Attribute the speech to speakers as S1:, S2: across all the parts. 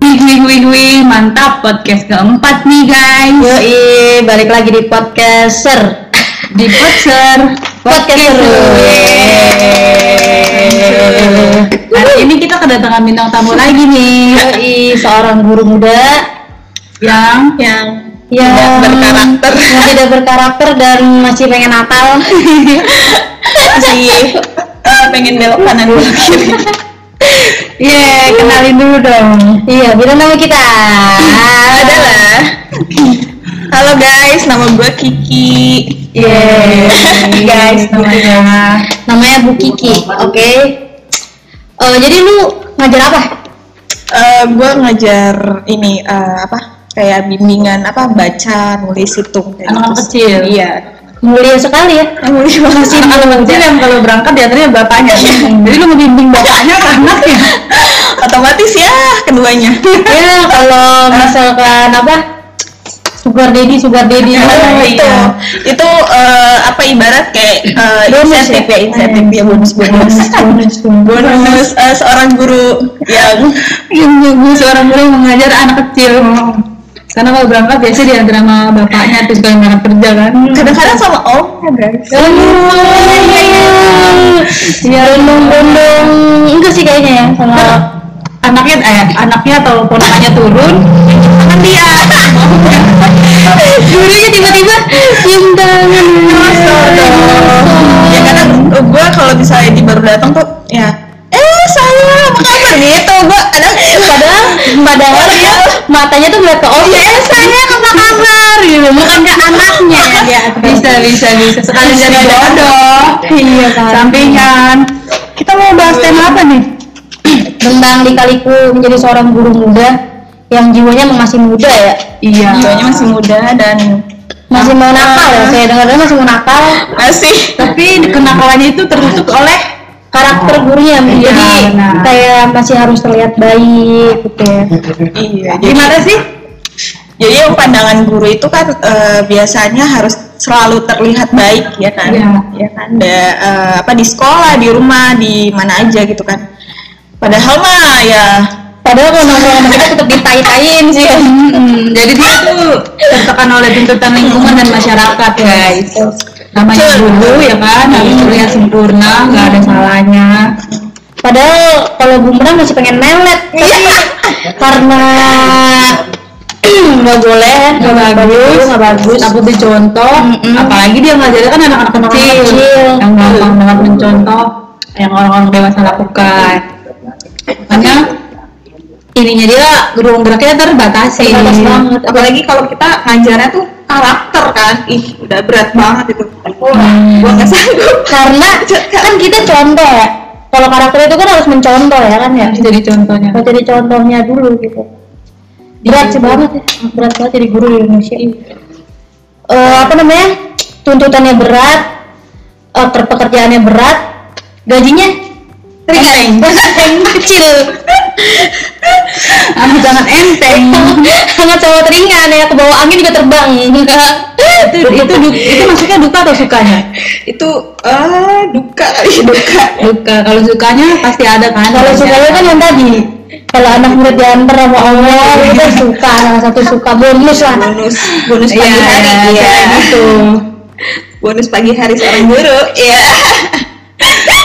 S1: Wih wih wih, mantap podcast keempat nih guys
S2: Yoi, balik lagi di podcaster
S1: Di Podser
S2: Podcaster
S1: Yeay. Hari ini kita kedatangan bintang tamu lagi nih
S2: Yoi, seorang guru muda
S1: Yang
S2: yang yang
S1: tidak berkarakter.
S2: yang tidak berkarakter dan masih pengen Natal
S1: masih pengen belok kanan belok kiri
S2: Iya, kenalin dulu dong Iya, bila nama kita
S3: adalah Halo guys, nama gue Kiki.
S2: Yeay, Iya, guys namanya Namanya Bu Kiki, oke Eh, Jadi lu ngajar apa?
S3: Eh, gue ngajar ini eh, apa? Kayak bimbingan apa baca, nulis, hitung kayak
S1: Anak-anak kecil.
S3: Iya.
S2: Mulia sekali ya
S3: Nulis banget.
S1: Masih anak kecil yang kalau berangkat diantarnya bapaknya Jadi lu ngebimbing bapaknya ya? ke anaknya
S3: Otomatis ya keduanya.
S2: ya kalau misalkan apa sugar daddy sugar daddy
S1: iya.
S2: Gitu.
S3: Oh, itu
S2: iya.
S3: itu eh, apa ibarat kayak eh,
S2: Bonus
S3: insentif
S2: ya?
S3: ya insentif ya bonus bonus
S2: bonus
S3: bonus eh, seorang guru yang
S1: Gue Iya, seorang guru yang mengajar anak kecil Karena kalau berangkat biasanya diantar sama bapaknya Terus kalau berangkat kerja kan
S3: kadang-kadang sama om guys
S2: ya bondong bondong enggak sih kayaknya ya sama
S1: anaknya eh anaknya atau ponakannya turun
S2: kan dia gurunya tiba-tiba cium tangan
S3: ya kadang gue kalau misalnya di baru datang tuh ya eh saya apa kabar gitu gue kadang
S2: padahal padahal dia matanya tuh melihat ke om
S1: "Eh,
S2: ya saya apa kabar gitu bukan ke anaknya ya
S1: bisa bisa bisa sekali jadi bodoh
S2: iya kan
S1: sampingan kita mau bahas tema apa nih
S2: tentang dikaliku menjadi seorang guru muda yang jiwanya masih muda ya
S1: iya
S3: jiwanya masih muda dan
S2: masih mau nakal ya saya dengar masih mau nakal
S3: masih
S1: tapi kenakalannya itu tertutup oleh
S2: karakter gurunya jadi
S1: Iya, benar.
S2: kayak masih harus terlihat baik gitu ya
S3: iya jadi
S1: gimana sih
S3: jadi yang pandangan guru itu kan eh, biasanya harus selalu terlihat baik ya kan
S1: Iya.
S3: ya kan Da- eh, apa di sekolah di rumah di mana aja gitu kan padahal mah ya
S2: padahal kalau nongkrong sama kita tetap ditai-taiin sih
S1: Hmm, jadi dia tuh tertekan oleh tuntutan lingkungan dan masyarakat guys namanya guru ya kan harus terlihat sempurna nggak ada salahnya
S2: padahal kalau bumerang masih pengen melet tapi karena nggak boleh
S1: nggak bagus
S2: nggak bagus
S1: takut dicontoh apalagi dia ngajarin kan anak-anak kecil,
S2: kecil.
S1: yang gampang banget mencontoh yang orang-orang dewasa lakukan makanya ininya dia ruang geraknya terbatasi
S2: Terbatas banget.
S3: apalagi kalau kita ngajarnya tuh karakter kan ih udah berat banget itu Aku- gua nggak sanggup
S2: karena kan kita contoh ya kalau karakter itu kan harus mencontoh ya kan ya
S1: Harus jadi contohnya
S2: mau jadi contohnya dulu gitu berat sih banget ya berat banget jadi guru di Indonesia Eh, apa namanya tuntutannya berat eh, per- pekerjaannya berat gajinya
S1: enteng
S2: enteng kecil
S1: ah, jangan enteng
S2: hangat sama teringan ya ke bawah angin juga terbang
S1: itu itu du- itu maksudnya duka atau sukanya
S3: itu eh duka kali duka
S1: duka kalau sukanya pasti ada kan
S2: kalau sukanya kan yang tadi kalau anak murid diantar sama Allah kita suka salah satu suka bonus lah
S3: bonus bonus
S1: Iya,
S3: pagi hari
S1: iya,
S3: iya.
S1: gitu.
S3: bonus pagi hari seorang guru iya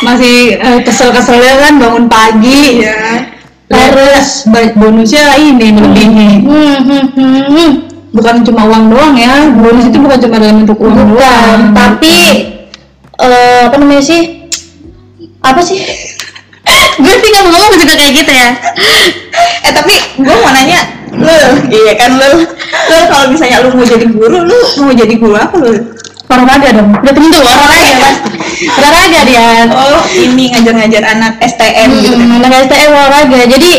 S1: masih eh, kesel-keselnya kan bangun pagi
S2: Iya.
S1: Terus ba- bonusnya ini melebihi.
S2: hmm, hmm, hmm, hmm.
S1: Bukan cuma uang doang ya. Bonus itu bukan cuma dalam bentuk uang
S2: bukan
S1: doang.
S2: tapi eh, apa namanya sih apa sih gue sih nggak mau ngomong juga kayak gitu ya
S3: eh tapi gue mau nanya lu iya kan lu lu kalau misalnya lu mau jadi guru lu mau jadi guru apa lu
S1: ya
S2: olahraga dong udah tentu olahraga mas olahraga dia
S3: oh ini ngajar-ngajar anak STM gitu
S2: hmm, anak STM olahraga jadi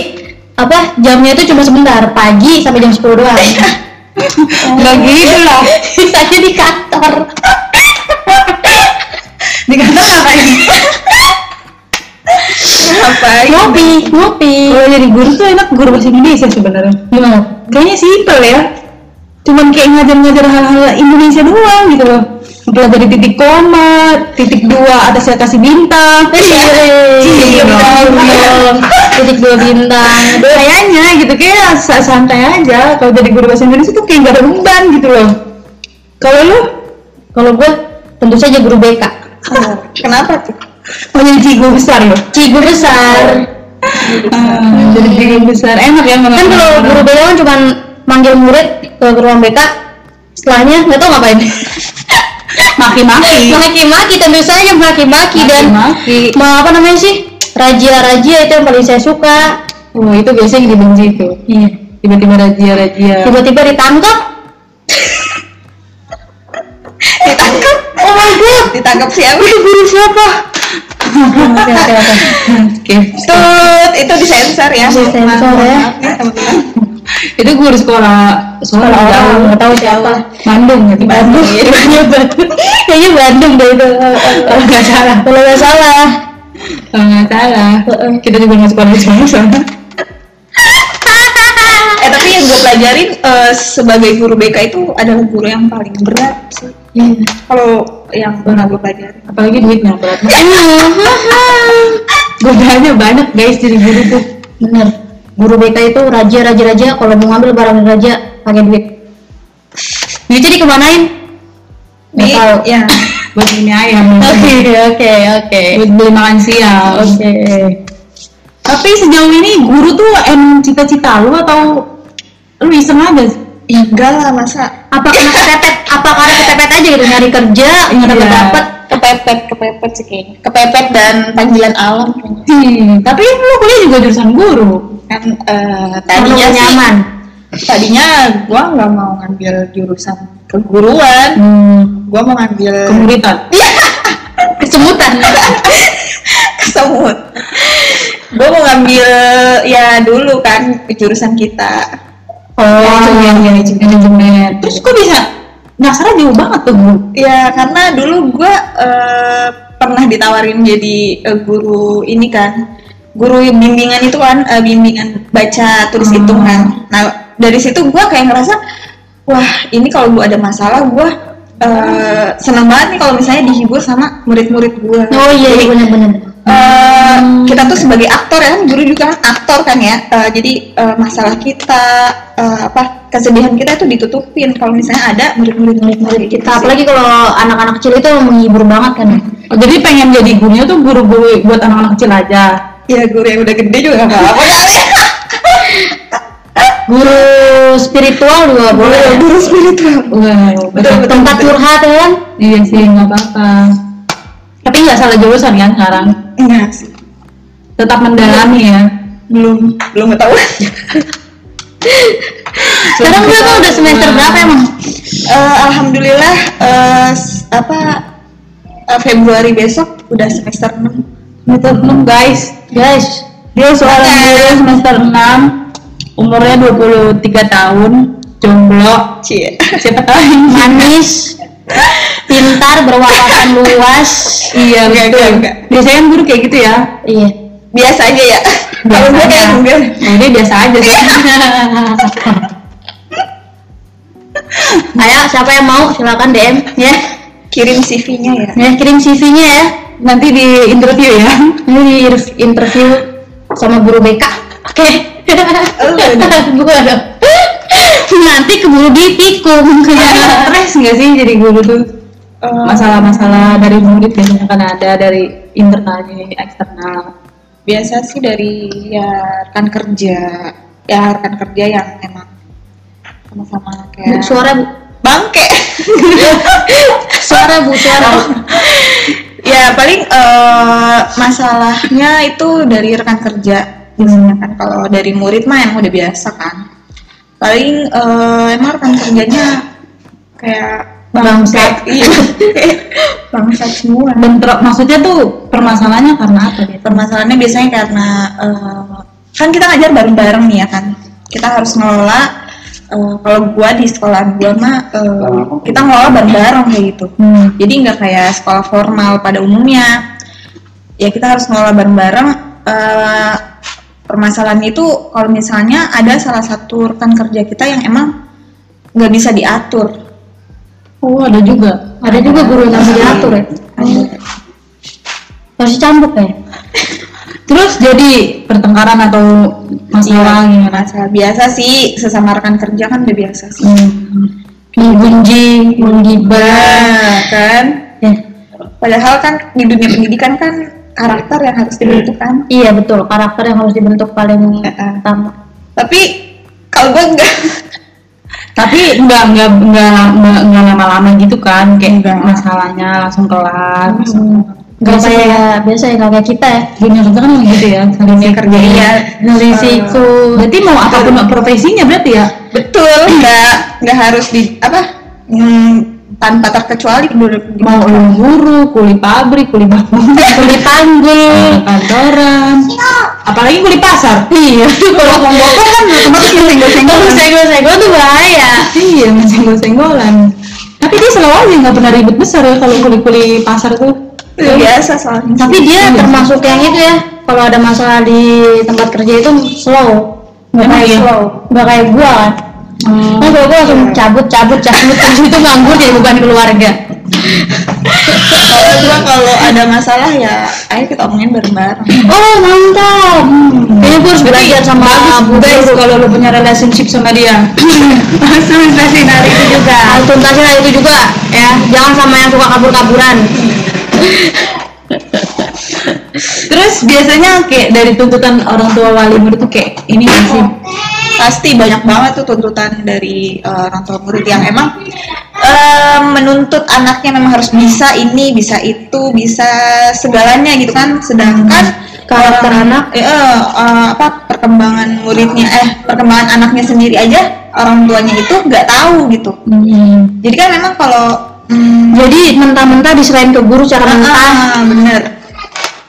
S2: apa jamnya itu cuma sebentar pagi sampai jam 10 doang
S1: nggak gitu lah.
S2: sisanya di kantor
S1: Di kantor ngapain?
S3: apa
S2: ngopi ngopi
S1: Kalau jadi guru tuh enak guru bahasa Indonesia sebenarnya.
S2: gimana
S1: Kayaknya simpel ya. Cuman kayak ngajar-ngajar hal-hal Indonesia doang gitu loh. Mempelajari titik koma, titik dua atas atas bintang.
S2: Iya,
S1: Iya,
S2: iya,
S1: dong.
S2: dong. titik dua bintang
S1: kayaknya gitu kayak sa- santai aja kalau jadi guru bahasa Indonesia tuh kayak gak ada beban gitu loh kalau lu
S2: kalau gue tentu saja guru BK
S3: Kenapa tuh?
S1: mau oh, jadi cigo besar loh
S2: cigu besar
S1: jadi cigo besar enak ya
S2: Ah. kan kalau guru BK kan cuma manggil murid eh, ke ruang BK setelahnya nggak tahu ngapain
S1: maki-maki
S2: maki-maki tentu saja maki-maki dan
S1: Maki-maki.
S2: ma- apa namanya sih razia-razia itu yang paling saya suka
S1: oh itu biasanya yang dibenci tuh
S2: iya.
S1: tiba-tiba razia-razia
S2: tiba-tiba ditangkap
S3: Ditangkap.
S2: oh my god
S3: Ditangkap siapa?
S1: guru siapa
S2: oke oke oke
S1: oke
S3: Tut, itu disensor ya.
S2: sensor ya
S3: Ya, teman-teman.
S1: itu guru sekolah sekolah
S2: kalau orang
S1: jauh
S2: nggak tahu siapa
S1: Bandung gitu
S3: Bandung.
S1: Iya, Bandung
S2: kayaknya Bandung deh itu
S1: kalau nggak salah
S2: kalau nggak salah
S1: kalau nggak salah
S2: Heeh.
S1: kita juga nggak sekolah di Bandung soalnya
S3: Eh tapi yang gue pelajarin eh, sebagai guru BK itu adalah guru yang paling berat sih.
S1: Iya.
S3: Kalau yang pernah gue pelajari.
S1: apalagi duit yang berat
S2: Hahaha.
S1: godaannya banyak guys jadi guru tuh
S2: bener guru BK itu raja raja raja kalau mau ngambil barang raja pakai duit duitnya dikemanain nggak
S3: Di-
S2: tahu
S3: ya.
S1: buat ini ayam
S2: oke
S1: Iya,
S2: oke oke
S1: buat beli makan siang
S2: oke
S1: tapi sejauh ini guru tuh em cita-cita lu atau lu iseng aja
S3: Enggak lah masa
S2: apa karena kepepet apa karena kepepet aja gitu nyari kerja nggak dapat
S1: Iya.
S2: dapat
S3: kepepet kepepet sih kayaknya. Kepepet dan panggilan alam kayaknya.
S1: hmm, tapi lu kuliah juga jurusan guru
S3: kan eh,
S2: karena
S3: tadinya
S2: nggak
S3: sih
S2: nyaman
S3: tadinya gue nggak mau ngambil jurusan keguruan
S1: hmm,
S3: gue mau ngambil
S1: kemuritan
S3: Iya.
S2: kesemutan
S3: kesemut gue mau ngambil ya dulu kan jurusan kita
S1: Oh, iya, manajemen manajemen manajemen iya, terus kok bisa nasara jauh banget tuh guru
S3: ya karena dulu gue pernah ditawarin jadi eh, guru ini kan guru bimbingan itu kan eh, bimbingan baca tulis hitung kan nah dari situ gue kayak ngerasa wah ini kalau gue ada masalah gue eh, seneng banget nih kalau misalnya dihibur sama murid-murid gue
S2: oh iya iya bener bener
S3: Eh, kita tuh sebagai aktor ya kan guru juga kan aktor kan ya Eh, jadi eh, masalah kita eh, apa kesedihan kita itu ditutupin kalau misalnya ada murid-murid murid
S2: kita apalagi kalau anak-anak kecil itu menghibur banget kan ya
S1: Oh, jadi pengen jadi gurunya tuh guru-guru buat anak-anak kecil aja
S3: ya guru yang udah gede juga nggak apa-apa kali
S2: guru spiritual juga boleh ya.
S3: guru spiritual
S1: wow,
S3: Betul, betul.
S2: tempat curhat ya kan
S1: iya sih nggak apa-apa tapi nggak salah jurusan kan sekarang
S3: enggak
S1: tetap mendalami ya
S3: belum belum ketahuan
S2: sekarang gue tuh udah semester berapa emang
S3: Eh, alhamdulillah eh, s- apa eh, Februari besok udah semester 6
S1: semester 6 guys
S2: guys
S1: Dia seorang guru semester 6 Umurnya 23 tahun Jomblo
S3: Cie.
S1: Siapa tahu yang mana.
S2: manis pintar berwawasan luas
S1: Iya
S3: Enggak,
S1: betul
S3: enggak, enggak.
S1: Biasanya kan guru kayak gitu ya
S2: iya
S3: biasa aja ya kalau gue kayak
S1: Biasanya.
S3: enggak
S1: Nah, dia biasa aja sih
S2: ayo siapa yang mau silakan DM ya
S3: kirim CV-nya ya
S2: ya kirim CV-nya ya
S1: Nanti di interview ya
S2: ini di ir- interview sama guru BK oke Gua dong. nanti keburu ditikung
S1: Iya, Stres nggak sih jadi guru tuh
S3: Eh,
S1: Masalah-masalah dari murid biasanya kan ada Dari internalnya, eksternal
S3: biasa sih dari ya rekan kerja ya rekan kerja yang emang sama-sama
S2: Bu,
S3: kayak
S2: suara bu
S3: bangke
S2: suara bu suara
S3: ya paling eh, masalahnya itu dari rekan kerja biasanya kan kalau dari murid mah emang udah biasa kan paling eh, emang rekan kerjanya kayak
S2: Bangsat.
S3: iya bangsat semua
S1: Bentrok, maksudnya tuh permasalahannya karena apa dia?
S3: permasalahannya biasanya karena eh, kan kita ngajar bareng-bareng nih ya kan kita harus ngelola eh, kalau gua di sekolah gua mah eh, kita ngelola bareng-bareng kayak gitu
S1: Hmm.
S3: jadi nggak kayak sekolah formal pada umumnya ya kita harus ngelola bareng-bareng eh, permasalahan itu kalau misalnya ada salah satu rekan kerja kita yang emang nggak bisa diatur
S1: Oh ada juga
S2: ada juga guru yang harus diatur ya
S3: Ada.
S2: harus cambuk ya
S1: Terus jadi pertengkaran atau
S3: Iya.
S1: masalah gimana?
S3: Masa biasa sih sesama rekan kerja kan udah biasa sih.
S1: Hmm. Menggunjing, menggibah.
S3: Nah, kan.
S2: Ya.
S3: Padahal kan di dunia pendidikan kan karakter yang harus dibentuk kan.
S2: Iya betul, karakter yang harus dibentuk paling
S3: Heeh.
S2: utama.
S3: Tapi kalau gue enggak.
S1: Tapi nggak nggak nggak nggak nggak lama-lama gitu kan, kayak
S3: Nggak.
S1: masalahnya langsung kelar.
S2: Hmm. Gak
S1: Biasa
S2: kayak biasa ya, gak kayak kita ya.
S1: Dunia kerja kan emang gitu ya, dunia kerja
S3: Iya.
S2: Risiko.
S1: Berarti mau apapun profesinya berarti ya?
S3: Betul. Enggak enggak harus di apa? Hmm, tanpa terkecuali menurut
S1: Mau lu guru, kuli pabrik, kuli bangunan,
S2: Beli panggul.
S1: kuli kantoran, apalagi kuli pasar. Iya, kalau mau bokong kan otomatis
S2: Terus
S1: senggol-senggolan.
S2: senggol-senggol tuh bahaya.
S1: Iya, senggol-senggolan. Tapi dia selalu aja nggak pernah ribet besar ya kalau kuli-kuli pasar tuh.
S3: biasa soalnya.
S1: Iya,
S2: Tapi dia termasuk yang itu ya, kalau ada masalah di tempat kerja itu slow. Gak
S1: Emang
S2: kayak
S1: iya? Oh.
S2: slow, gak kayak gua kan. Kan kalau gua langsung cabut, cabut, cabut, terus itu nganggur
S1: Iya,
S2: jadi beban keluarga.
S3: Kalau gua kalau ada masalah ya ayo kita omongin bareng-bareng.
S2: Oh mantap.
S1: Hmm.
S2: Kayaknya gua harus belajar sama Bu
S1: guys
S2: Guru.
S1: kalau lu punya relationship sama dia. Langsung investasi hari itu juga.
S2: Harus tuntasin hal itu juga ya. Jangan sama yang suka kabur-kaburan.
S1: Terus biasanya kayak dari tuntutan orang tua wali murid tuh kayak ini
S2: Iya.
S1: nggak sih
S3: Iya Pasti banyak banget tuh tuntutan dari eh, orang tua murid yang emang eh, menuntut anaknya memang harus bisa ini, bisa itu, bisa segalanya gitu kan. Sedangkan
S2: Karakter
S3: orang-
S2: anak.
S3: eh, eh, eh, apa perkembangan muridnya eh perkembangan anaknya sendiri aja orang tuanya itu nggak tahu gitu. Jadi kan memang kalau hmm,
S2: Jadi mentah-mentah diserahin ke guru cara mentah.
S3: ah, bener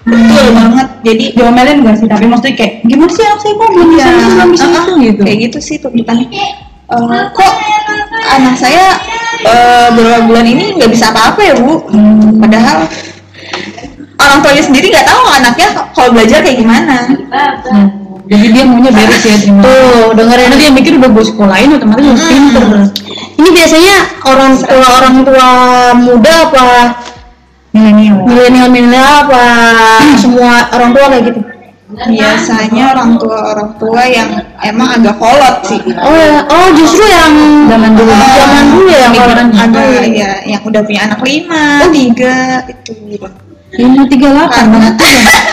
S3: betul
S2: Hmm.
S3: banget. Jadi
S1: diomelin nggak sih tapi maksudnya kayak gimana sih anak saya kok belum bisa ini belum bisa
S3: Ah,
S1: itu
S3: ah,
S1: gitu
S3: kayak gitu sih tuntutannya Eh, kok anak saya eh, beberapa bulan ini nggak bisa apa-apa ya bu padahal orang tuanya sendiri nggak tahu anaknya kalau belajar kayak gimana
S1: Hmm. jadi dia maunya beres ya terima
S2: Tuh, dengerin
S1: karena dia mikir udah gue sekolahin otomatis harus pinter
S2: Ini biasanya orang tua orang tua muda apa
S1: milenial
S2: milenial milenial apa semua orang tua kayak gitu.
S3: biasanya orang tua orang tua yang emang agak kolot sih
S2: Oh, ya. oh justru yang
S1: Zaman dulu.
S2: zaman dulu ya kalau
S1: Pikiran
S2: ada.
S3: ada ya yang udah punya anak lima
S1: Oh,
S3: tiga itu
S1: lima tiga delapan
S3: karena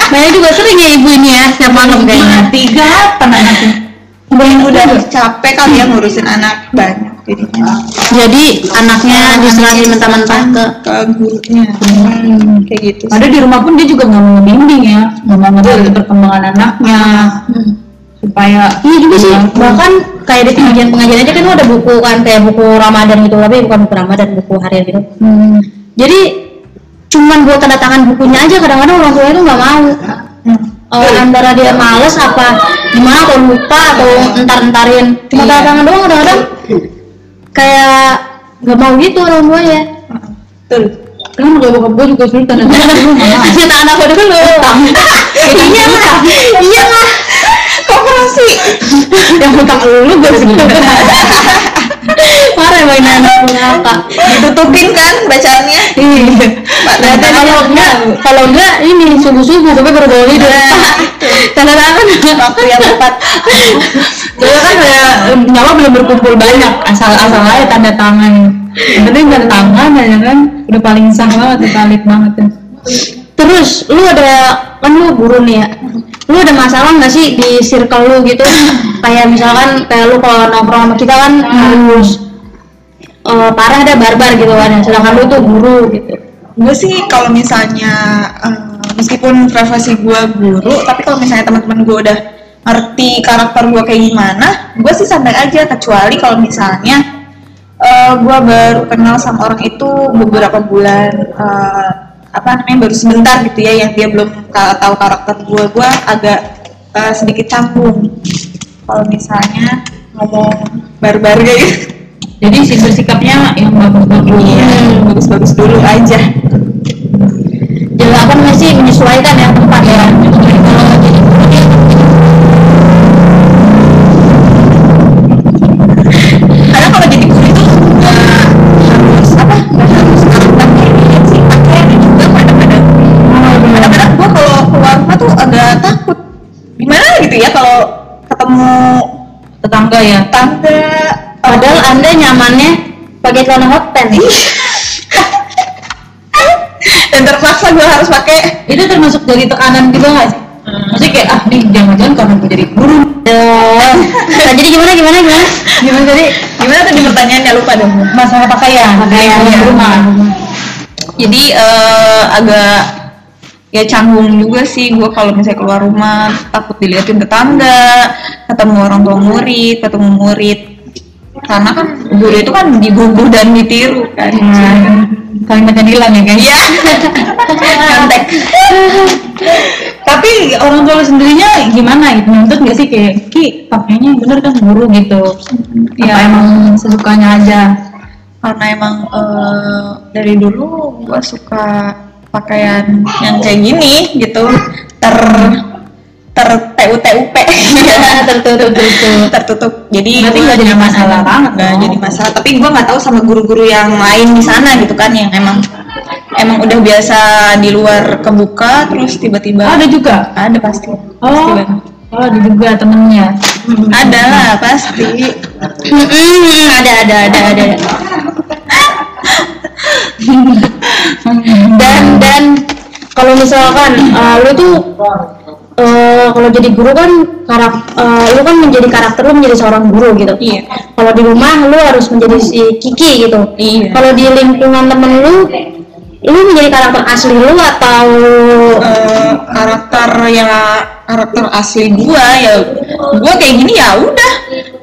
S2: Banyak juga sering ya ibu ini ya setiap malam
S1: lima
S2: kayaknya.
S1: tiga delapan anaknya
S3: kan udah capek kali ya ngurusin anak banyak jadinya
S2: Jadi anaknya diserahin mentah-mentah ke
S3: ke gurunya
S1: Hmm.
S3: kayak gitu sih.
S1: ada di rumah pun dia juga nggak mau bimbing ya nggak mau ngebantu perkembangan anaknya supaya
S2: Iya juga sih, bahkan kayak di pengajian-pengajian aja kan ada buku kan kayak buku Ramadan gitu, tapi bukan buku Ramadan, buku harian gitu.
S1: Hmm.
S2: Jadi cuman buat tanda tangan bukunya aja kadang-kadang orang tuanya tuh nggak mau.
S3: Hmm.
S2: Eh, antara dia males apa gimana atau lupa atau entar-entarin. Cuma tanda tangan doang kadang-kadang kayak nggak mau gitu orang tuanya.
S3: betul
S1: kan udah bokap gue juga sulit tanda tangan gue malah
S2: Cerita anak gue dulu. Iya lah, iya lah.
S3: konferensi
S1: yang utang lu gue sih
S2: Parah emang ini anak punya apa?
S3: ditutupin kan bacaannya
S1: iya
S3: Pak
S2: Berarti
S3: Tanda
S2: kalau enggak, kalau enggak ini subuh-subuh tapi baru baru tidur.
S1: Nah.
S2: Tanda tangan.
S3: waktu yang tepat
S1: Soalnya kan kayak em, nyawa belum berkumpul banyak asal asal aja tanda tangan yang penting tanda tangan aja kan udah paling sah banget udah valid banget ya.
S2: Terus lu ada kan lu guru nih ya. Lu ada masalah nggak sih di circle lu gitu? kayak misalkan kayak lu kalau nongkrong sama kita kan
S1: Hmm.
S2: harus eh, parah ada barbar gitu kan. ya. Sedangkan lu tuh guru gitu.
S3: gue sih kalau misalnya eh, meskipun profesi gue guru tapi kalau misalnya teman-teman gue udah ngerti karakter gue kayak gimana gue sih santai aja kecuali kalau misalnya gue baru kenal sama orang itu beberapa bulan eh, apa namanya baru sebentar gitu ya yang dia belum ka- tahu karakter gue gue agak eh, sedikit canggung kalau misalnya ngomong barbar kayak gitu.
S1: jadi sih bersikapnya yang bagus-bagus
S3: Iya, bagus-bagus dulu aja
S2: Jadi apa namanya sih menyesuaikan ya tempat ya. Kalau jadi guru nih,
S3: karena kalau jadi guru itu nggak harus apa nggak harus karakter kan kayak gini sih pakaiannya juga kadang-kadang kadang-kadang gue kalau keluar rumah tuh agak takut gitu ya kalau ketemu
S1: tetangga ya
S3: tante
S2: Padahal anda nyamannya pakai celana hot pants.
S3: dan terpaksa gue harus pakai
S1: itu termasuk dari tekanan juga nggak sih maksudnya kayak ah nih jangan-jangan karena gue jadi guru
S2: Dong. Nah, jadi gimana gimana gimana?
S1: gimana tadi
S3: gimana tadi pertanyaannya lupa dong
S1: masalah pakaian
S2: Pakaian,
S1: di
S2: iya.
S1: rumah
S3: jadi eh, agak ya canggung juga sih gue kalau misalnya keluar rumah takut diliatin tetangga ketemu orang tua murid ketemu murid karena kan guru itu kan diguguh dan ditiru kan
S1: kalimatnya hilang ya guys
S3: iya contek
S1: tapi orang tua lu sendirinya gimana gitu nuntut nggak sih kayak ki pakainya yang bener kan guru gitu ya
S3: Iya.
S1: emang sesukanya aja
S3: karena emang eh, dari dulu gue suka pakaian yang kayak gini gitu ter ter tutup
S2: Tertutup tertutup.
S3: tertutup jadi
S1: Berarti
S3: gua
S1: nggak jadi masalah banget
S3: nggak
S1: dong.
S3: jadi masalah tapi gue nggak tahu sama guru-guru yang lain di sana gitu kan yang emang emang udah biasa di luar kebuka terus
S1: oh,
S3: tiba-tiba
S1: ada juga
S3: ada pasti pasti
S1: oh
S3: banget.
S1: oh ada juga temennya Hmm.
S3: ada lah pasti
S2: Mm-mm, Ada ada ada ada. Dan dan kalau misalkan eh, lu tuh eh, kalau jadi guru kan karak eh, lu kan menjadi karakter lu menjadi seorang guru gitu.
S3: Iya.
S2: Kalau di rumah lu harus menjadi si Kiki gitu.
S3: Iya.
S2: Kalau di lingkungan temen lu lu menjadi karakter asli lu atau
S3: eh, karakter ya karakter asli gua ya gua kayak gini ya udah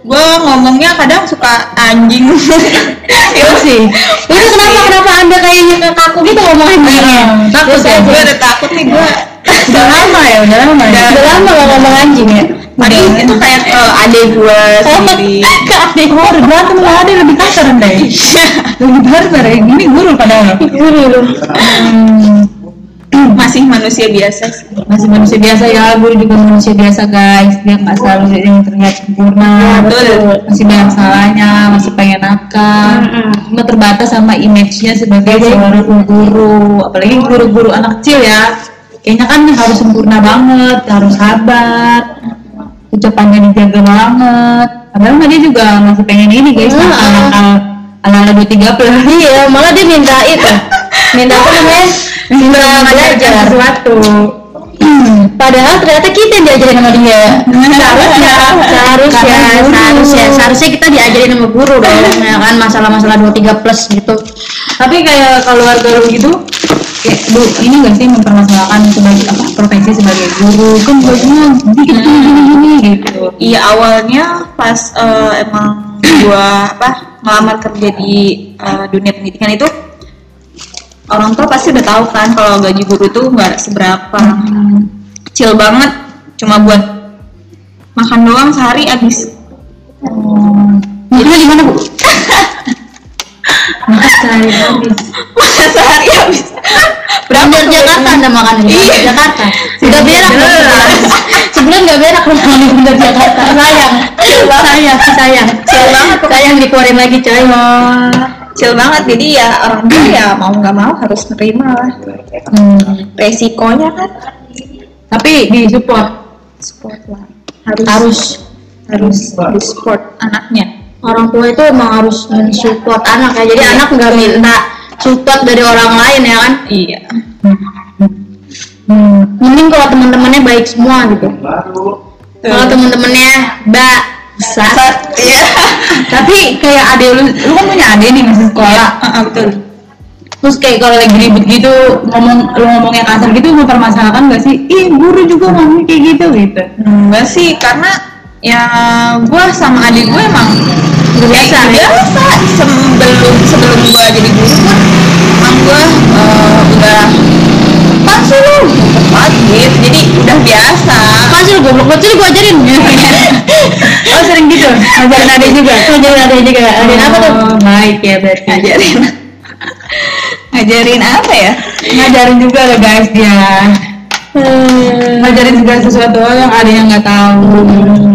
S3: gua ngomongnya kadang suka anjing
S1: Iya
S3: ya sih
S2: itu Iya kenapa kenapa anda kayaknya ke kaku gitu ngomongin
S3: takut
S2: Biasa
S3: ya
S2: aja.
S3: gua udah takut nih gua
S1: Iya. udah lama ya udah lama ya
S2: Udah lama gak ngomong anjing ya?
S3: Padahal itu kayak ke adek gua sendiri
S2: Ke adik
S1: Oh, udah berantem lah, ada lebih kasar deh. lebih barbar ya, ini guru padahal.
S2: Iya. guru lu
S1: Hmm,
S3: masih manusia biasa sih
S1: masih manusia biasa ya, guru juga manusia biasa guys. Dia nggak selalu jadi yang terlihat sempurna.
S3: betul.
S1: Masih banyak salahnya, masih pengen nakal. Cuma terbatas sama image-nya sebagai seorang guru, apalagi guru-guru anak kecil ya. Kayaknya kan harus sempurna banget, harus sabar, ucapannya dijaga banget. Padahal mah dia juga masih pengen ini guys,
S2: Iya.
S1: nakal-nakal ala-ala 230.
S2: Iya, malah dia minta itu Minta apa namanya? Minta belajar
S1: sesuatu
S2: Padahal ternyata kita yang diajarin sama dia Seharusnya
S1: Karena
S2: Seharusnya
S1: guru.
S2: Seharusnya Seharusnya kita diajarin sama guru dong ya kan masalah-masalah 23 plus gitu
S1: tapi kayak keluarga lu gitu kayak lu ini gak sih mempermasalahkan sebagai apa profesi sebagai guru kan bajunya bikin
S2: Hmm.
S1: gini gini gini gitu
S3: iya awalnya pas eh, emang gua apa ngelamar kerja di eh, dunia pendidikan itu orang tua pasti udah tahu kan kalau gaji guru tuh nggak seberapa kecil banget cuma buat makan doang sehari habis
S2: Maksudnya gimana bu?
S1: maka sehari habis
S3: masa sehari habis
S2: Berapa Jakarta anda makan di
S3: Iya.
S2: Jakarta Udah berak dong sebulan Sebulan gak berak loh kalau di Bandar Jakarta Sayang Sayang Sayang Sayang dikeluarin lagi coy
S3: kecil banget jadi ya orang tua ya mau nggak mau harus nerima lah resikonya kan
S1: tapi di support
S3: support lah harus
S2: Harus
S3: harus di support anaknya
S2: Orang tua itu emang harus support anak ya Jadi anak gak minta support dari orang lain ya kan
S3: iya
S1: hmm.
S2: Mending kalau teman-temannya baik semua gitu Kalau teman-temannya Mbak Sat
S3: iya
S1: tapi kayak ade lu lu kan punya ade nih masih sekolah
S2: Iya.
S3: Ah, betul
S1: terus kayak kalau lagi ribut gitu ngomong lu ngomongnya kasar gitu mempermasalahkan gak sih ih guru juga ngomong kayak gitu gitu
S3: Enggak sih, karena ya gue sama adik gue emang
S2: Udah biasa
S3: kayak
S2: ya?
S3: biasa. sebelum sebelum gue jadi guru pun emang gue udah pas lu cepat gitu jadi udah biasa
S2: Pasti lu goblok banget, jadi gue ajarin
S1: oh sering gitu ngajarin ade juga
S2: Ajarin ada juga,
S1: Ada
S2: ajarin apa tuh?
S1: Baik ya berarti.
S3: ngajarin ngajarin apa ya
S1: Ngajarin juga loh guys dia. Ngajarin segala sesuatu yang ada yang nggak tahu.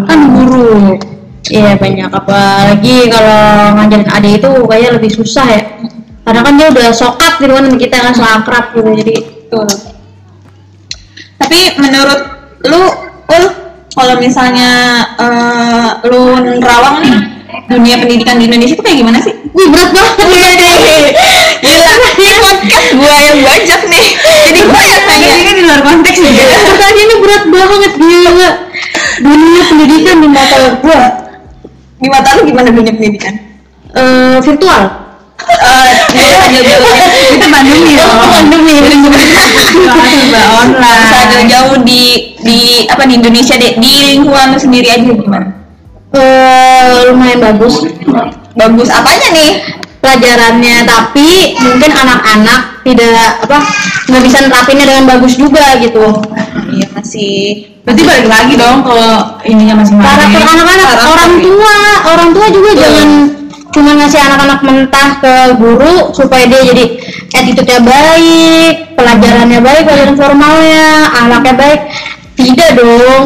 S1: Kan guru.
S2: Iya banyak apalagi kalau ngajarin adik itu kayaknya lebih susah ya. Karena kan dia udah sokat gitu kan sama kita kan so akrab gitu jadi
S3: tapi menurut lu ul kalau misalnya eh, lu nerawang nih dunia pendidikan di Indonesia itu kayak gimana sih?
S2: Wih berat banget ya
S3: Gila, ini podcast gue yang banyak nih. Jadi gue yang tanya.
S1: ini kan di luar konteks ya
S2: Pertanyaannya berat banget gila Dunia pendidikan di mata gua
S3: Di mata lu gimana Kan? dunia pendidikan?
S2: eh, virtual
S3: Eh, gue tanya dulu.
S1: kita pandemi ya
S2: pandemi
S1: serba
S3: Bisa
S1: online
S3: jauh-jauh di di apa di Indonesia deh di lingkungan lu sendiri aja gimana?
S2: Eh, lumayan bagus
S3: Bagus apanya nih?
S2: pelajarannya tapi mungkin anak-anak tidak apa nggak bisa nerapinnya dengan bagus juga gitu
S3: Iya masih
S1: berarti balik lagi dong kalau ininya
S2: karakter
S1: masing-masing
S2: anak-anak
S3: Karakter.
S2: orang tua orang tua juga jangan cuma ngasih anak-anak mentah ke guru supaya dia jadi attitude-nya baik pelajarannya baik pelajaran formalnya anaknya baik tidak dong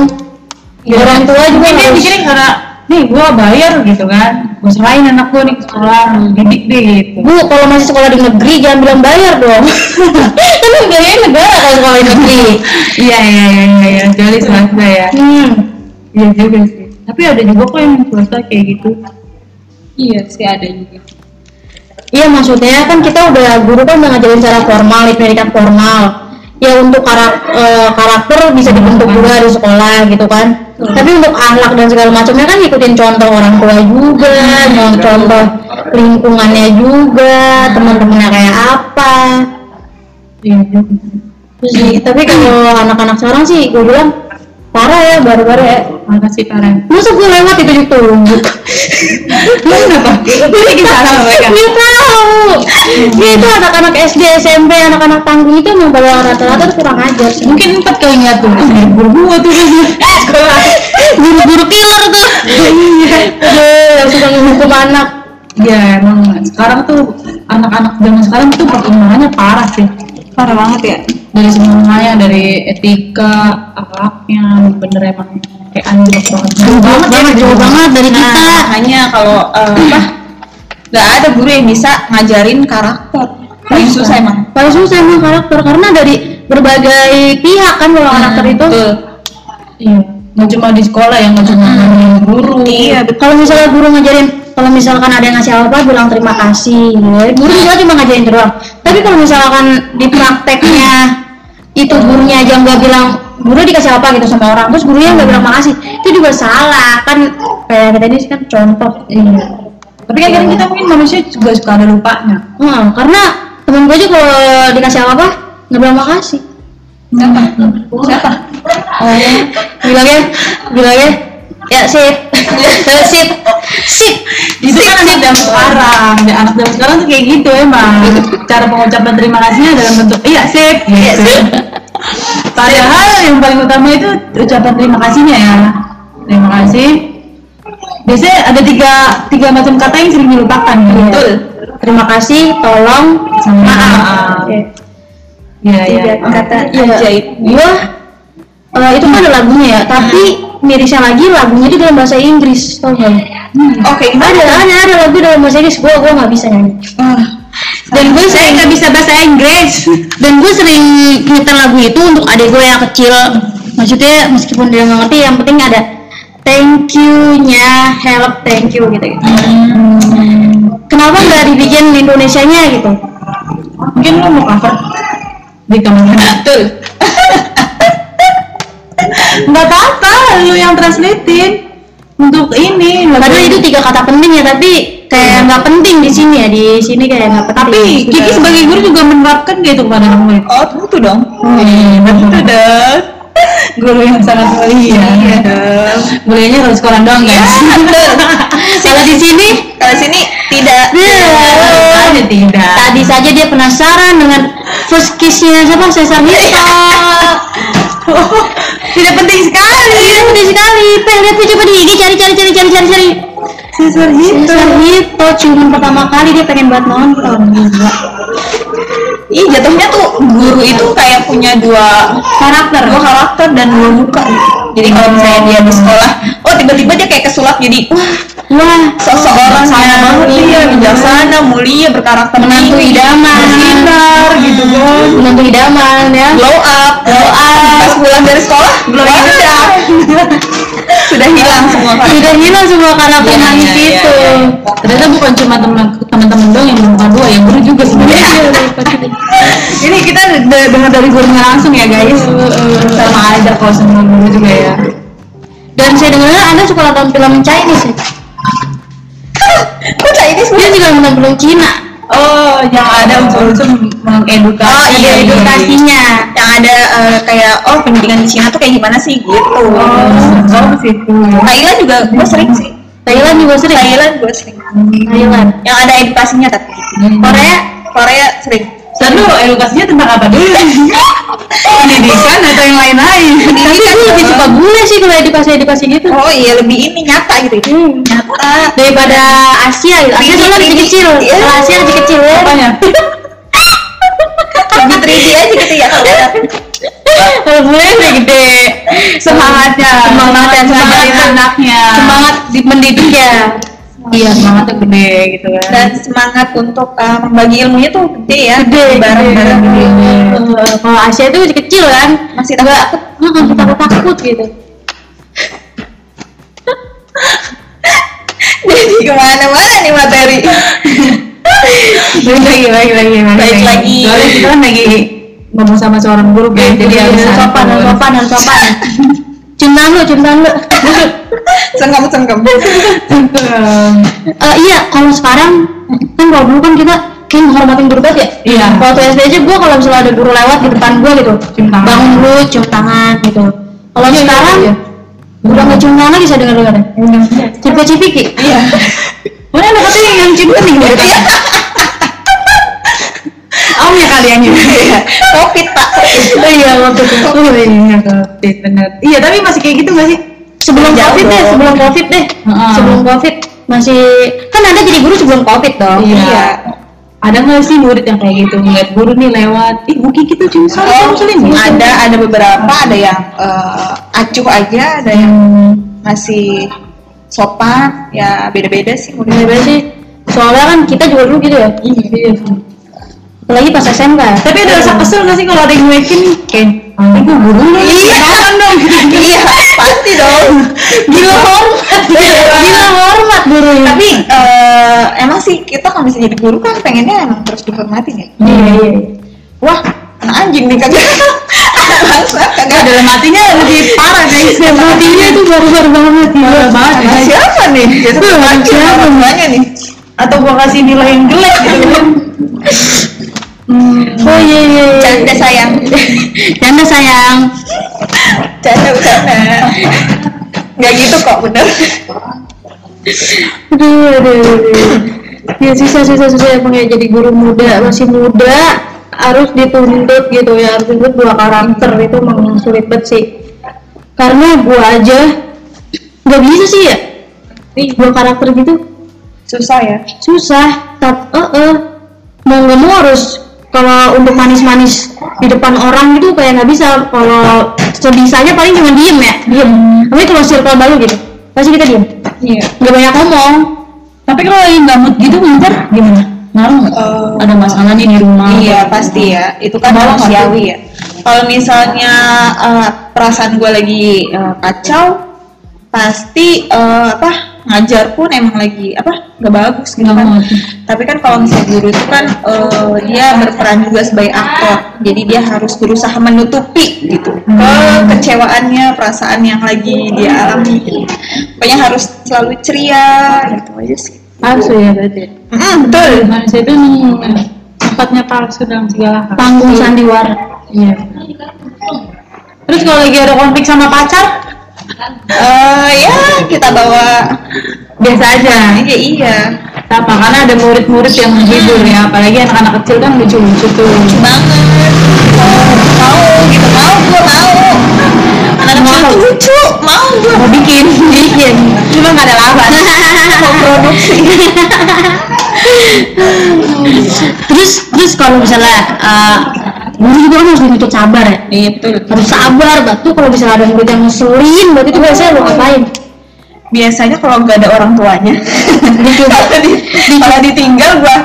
S1: Iya.
S2: orang tua juga
S1: mungkin dia
S2: harus
S1: mikirnya karena nih gua bayar gitu kan gua serahin anak gua nih ke sekolah lu didik deh gitu
S2: bu kalau masih sekolah di negeri jangan bilang bayar dong kan biayanya negara kalau sekolah di negeri
S1: iya iya iya iya iya jadi swasta ya
S2: hmm.
S1: iya juga sih tapi ada juga kok yang swasta kayak gitu
S4: Iya sih ada juga.
S2: Iya maksudnya kan kita udah guru kan udah ngajarin cara formal, di pendidikan formal. Ya untuk karak- eh, karakter bisa dibentuk juga di sekolah gitu kan. Tapi untuk akhlak dan segala macamnya kan ikutin contoh orang tua juga, mau contoh lingkungannya juga, teman-temannya kayak apa.
S1: iya juga sih.
S2: Terus di- tapi kalau anak-anak sekarang sih gue bilang parah ya baru-baru ya.
S1: makasih Karen
S2: Masa gue lewat itu ditunjuk.
S1: lu kenapa? lu lagi salah mereka
S2: Dia tahu. Dia itu anak-anak SD, SMP, anak-anak tanggung itu memang pada rata-rata tuh kurang ajar sih.
S1: mungkin empat kali ngeliat tuh ah, dari guru gua tuh
S2: Guru-guru killer tuh. Aduh, yang suka menghukum anak.
S1: ya emang sekarang tuh anak-anak zaman sekarang tuh perkembangannya parah sih
S3: parah banget ya.
S1: dari semuanya dari etika akhlaknya bener emang kayak anjlok banget jauh banget ya jauh banget
S2: dari
S3: Nah, hanya kalau eh, apa nggak ada guru yang bisa ngajarin karakter. Paling susah emang.
S2: Paling susah emang karakter karena dari berbagai pihak kan kalau karakter itu.
S3: Betul.
S1: iya nggak cuma di sekolah ya nggak cuma ngomongin guru
S3: Iya,
S2: Kalau misalnya guru ngajarin kalau misalkan ada yang ngasih apa bilang terima kasih guru juga cuma ngajarin itu doang tapi kalau misalkan di prakteknya itu gurunya aja nggak bilang guru dikasih apa gitu sama orang terus gurunya nggak bilang makasih itu juga salah kan kayak kita ini kan contoh
S1: iya tapi kan kadang kita mungkin manusia juga suka ada lupanya
S2: Hmm, karena temen gue aja kalau dikasih apa apa nggak bilang makasih
S3: Siapa? Siapa?
S2: bilangnya bilangnya ya sip ya sip sip
S1: itu kan anak zaman sekarang dan anak zaman sekarang tuh kayak gitu emang cara pengucapan terima kasihnya dalam bentuk iya sip gitu padahal yang paling utama itu ucapan terima kasihnya ya terima kasih biasanya ada tiga tiga macam kata yang sering dilupakan gitu.
S2: Betul. terima kasih tolong
S1: Sama maaf.
S2: maaf Oke.
S1: iya iya
S2: Tiga kata
S3: iya.
S2: ajaib. Gua eh, itu kan ada lagunya ya, tapi mirisnya lagi lagunya itu dalam bahasa Inggris, tau gak? lu?
S3: Oke, gimana?
S2: Ada, ada, ada lagu dalam bahasa Inggris. Gua, gua nggak bisa nyanyi.
S3: Ah.
S2: Dan gue sering nggak bisa bahasa Inggris. Dan gue sering nyetel lagu itu untuk adik gue yang kecil. Maksudnya meskipun dia nggak ngerti, yang penting ada thank you-nya, help, thank you gitu. -gitu. Kenapa nggak dibikin Indonesianya gitu?
S1: mungkin lo mau cover di kamar
S3: Betul.
S1: nggak apa-apa lu yang translatein untuk ini
S2: Padahal itu tiga kata penting ya, tapi kayak nggak penting di sini ya, di sini kayak nggak penting.
S1: tapi Kiki sebagai guru juga menerapkan gitu kepada anak murid
S3: Oh, tentu dong.
S1: Hmm, betul
S3: dong.
S1: guru yang sangat
S3: Iya
S1: mulia.
S3: dong.
S1: Mulianya harus sekolah doang ya.
S3: Iya.
S2: kalau di sini,
S3: Kalau sini tidak.
S2: eh,
S1: Ada tidak.
S2: tadi saja dia penasaran dengan first kiss-nya siapa Cesar Mita.
S1: Tidak penting sekali.
S2: Iya, udah sekali. Pel, lihat tuh, coba di IG cari cari cari cari cari cari.
S1: Sisir gitu.
S2: Cesar Mito cuman pertama kali dia pengen buat nonton.
S3: Ih, jatuhnya tuh guru itu kayak punya dua karakter, dua karakter dan dua muka. gitu. Jadi kalau misalnya dia di sekolah, oh tiba-tiba dia kayak kesulap jadi wah
S2: Wah,
S3: sosok orang saya banget dia bijaksana, mulia, berkarakter
S2: menantu
S3: tinggi,
S2: idaman.
S3: bersinar gitu kan.
S1: Iya,
S2: Menantu idaman ya.
S3: Glow up, glow up. Pas pulang dari sekolah, belum ada. sudah hilang semua Pak.
S2: Udah hilang semua karakter
S1: Iya, iya,
S2: manis itu.
S1: iya, ternyata bukan cuma teman- teman-teman doang yang menemukan dua yang guru juga sebenarnya Iya,
S3: Ini kita de- dengar dari gurunya langsung ya guys.
S1: sama aja kalau semua guru juga ya
S2: Dan saya dengar Anda suka nonton film Chinese. ya?
S3: Kok Chinese
S2: Dia juga nonton film Cina.
S1: oh yang ada unsur-unsur mengedukasi
S3: Oh iya
S1: dari-
S3: edukasinya yang ada eh, kayak oh pendidikan di Cina tuh kayak gimana sih gitu.
S1: oh ke situ
S3: Thailand juga gue sering sih.
S2: Thailand juga sering.
S3: Thailand gue sering.
S2: Thailand.
S3: Yang ada edukasinya tapi Korea Korea sering.
S1: lalu edukasinya tentang apa dulu pendidikan atau yang lain-lain
S2: Tapi gue lebih suka bule sih kalau edukasi edukasi gitu
S3: kan, Oh iya lebih ini nyata gitu. ya. Nyata.
S2: daripada Asia gitu. Asia soalnya lebih kecil.
S3: Iya.
S2: Kalau Asia lebih kecil ya.
S1: apanya
S3: Lebih 3D aja gitu ya kalau ada.
S2: Kalau bule udah gede.
S1: semangatnya
S2: Semangat dan
S1: semangat
S2: semangat.
S1: anaknya
S2: Semangat di mendidik ya.
S1: iya semangatnya gede gitu kan
S3: dan semangat untuk eh, membagi ilmunya tuh gede ya. bareng-bareng.
S2: Eh, Kalau Asia itu masih kecil kan.
S3: Masih takut.
S2: Nggak kita takut takut gitu.
S3: Jadi kemana-mana nih materi.
S1: Baik lagi, baik lagi,
S3: Baik lagi.
S1: Soalnya kita kan lagi ngomong sama seorang guru kan, jadi harus
S2: sopan,
S1: santun.
S2: Iya, harus sopan, harus sopan. Cinta lu, cinta lu.
S3: Sengkem-sengkem.
S1: Iya, Santun.
S2: Eh, iya, kalau sekarang kan kalau dulu kan kita kayak menghormatin guru banget ya.
S1: Iya.
S2: Waktu SD aja gue kalau misalnya ada guru lewat di depan gue gitu,
S1: Cium tangan.
S2: bangun dulu, cium tangan gitu. Kalau
S1: Iya, iya,
S2: sekarang
S1: iya.
S2: udah nggak cium tangan lagi saya dengar dengar. Cipu cipiki. Iya.
S1: Mana ada katanya yang cium bening dari tangan? Om ya kali yang ini.
S3: Covid pak.
S2: Iya waktu itu.
S1: Oh iya, covid bener. Iya, tapi masih kayak gitu gak sih?
S2: Sebelum
S3: Jauh
S2: covid deh,
S3: dong.
S2: sebelum covid deh,
S1: Heeh.
S2: sebelum covid masih kan anda jadi guru sebelum covid dong.
S1: Iya. Ada gak sih murid yang kayak gitu ngeliat guru nih lewat, ih gitu, mungkin kita cium salim,
S3: Oh,
S1: cium salim.
S3: ada ada beberapa ada yang eh, acuh aja ada yang masih sopan ya beda-beda sih
S2: Iya
S3: mudah
S2: bener sih. Soalnya kan kita juga dulu gitu ya.
S1: Iya.
S2: Apalagi pas SMK. ya.
S1: Tapi ada rasa kesel gak sih kalau ada yang cuekin nih? Kayak, ini gue guru lu,
S3: Iya.
S1: Apaan dong.
S3: iya pasti dong
S2: Gila hormat.
S1: Iya,
S2: Gila hormat guru. ini.
S3: tapi eh, emang sih kita kalau bisa jadi guru kan pengennya emang terus dihormatin ya
S2: Iya iya.
S3: wah anak anjing nih kagak Masa kagak ada
S1: Dalam hatinya lebih parah guys.
S2: Matinya tuh baru-baru banget ya.
S1: Parah banget
S3: Sama
S1: guys.
S3: siapa nih
S1: Iya,
S3: biasa
S2: Tuh,
S3: anjing
S2: siapa?
S3: orang tuanya nih
S1: atau gua kasih nilai yang jelek gitu kan
S2: Oh iya iya. iya.
S3: canda sayang
S2: Canda sayang.
S3: canda bercanda nggak gitu kok bener
S2: Aduh aduh. aduh. Ya susah susah susah emang ya jadi guru muda masih muda harus dituntut gitu ya harus dituntut dua karakter itu emang sulit banget sih. Karena gua aja nggak bisa sih ya. Ih, dua karakter gitu
S3: susah ya
S2: susah tapi eh eh. mau nggak mau harus kalau untuk manis-manis di depan orang gitu kayak nggak bisa kalau sebisanya paling cuma diem ya diem tapi kalau circle baru gitu pasti kita diem
S4: Iya.
S2: nggak banyak ngomong
S1: tapi kalau lagi nggak mood gitu ngajar gimana ngaruh nggak
S3: Eh,
S1: ada masalah nih di rumah
S2: Hmm.
S3: Iya pasti ya, itu kan
S1: Malah
S3: manusiawi ya. Kalau misalnya eh, perasaan gue lagi eh, kacau, pasti eh, apa ngajar pun emang lagi apa nggak bagus gitu
S1: Nggak
S3: kan.
S1: mood.
S3: Tapi kan kalau misalnya guru itu kan eh, dia berperan juga sebagai aktor, jadi dia harus berusaha menutupi gitu kekecewaannya, perasaan yang lagi dia alami. Gitu. Pokoknya harus selalu ceria gitu aja sih.
S1: palsu ya berarti
S3: Mm, betul.
S1: manusia itu emang eh, tempatnya palsu dalam segala hal
S2: panggung sandiwara
S1: iya terus kalau lagi ada konflik sama pacar
S3: Eh, ya kita bawa
S1: biasa aja
S3: Iya iya.
S1: apa karena ada murid-murid yang menghibur ya apalagi anak-anak kecil kan lucu-lucu tuh
S3: Banget. Mau, mau gitu mau gue mau. Anak kecil tuh lucu mau gue.
S1: mau bikin bikin Iya, cuma nggak ada lawan
S2: terus terus kalau misalnya eh, guru juga kan harus dituntut sabar ya
S4: Iya
S3: Gitu.
S4: betul.
S2: harus sabar batu kalau misalnya ada murid yang ngeselin berarti itu biasanya lo ngapain
S3: Biasanya kalau nggak ada orang tuanya, kalau di- kalau ditinggal gue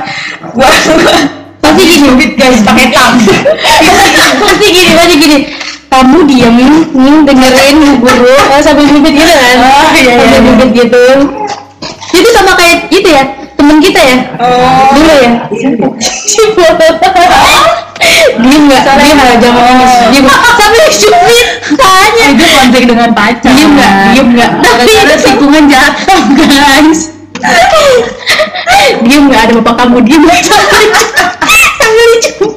S3: gue gue
S2: pasti gini
S3: guys pakai tang.
S2: pasti gini pasti gini kamu diemin nih dengerin guru eh, sambil bibit gitu kan
S3: Oh, iya, iya,
S2: sambil
S3: iya.
S2: bibit gitu itu sama kayak gitu ya temen kita ya
S3: Oh.
S2: dulu ya Cibo Diem nggak
S1: Soalnya
S2: Diem nggak jangan nangis Diem nggak? sambil cubit tanya
S1: itu konflik dengan pacar
S2: Diem nggak? Diem nggak?
S1: gara-gara
S2: Tapi-
S1: tikungan jatuh guys
S2: diem nggak ada bapak kamu diem nggak sambil sambil dicubit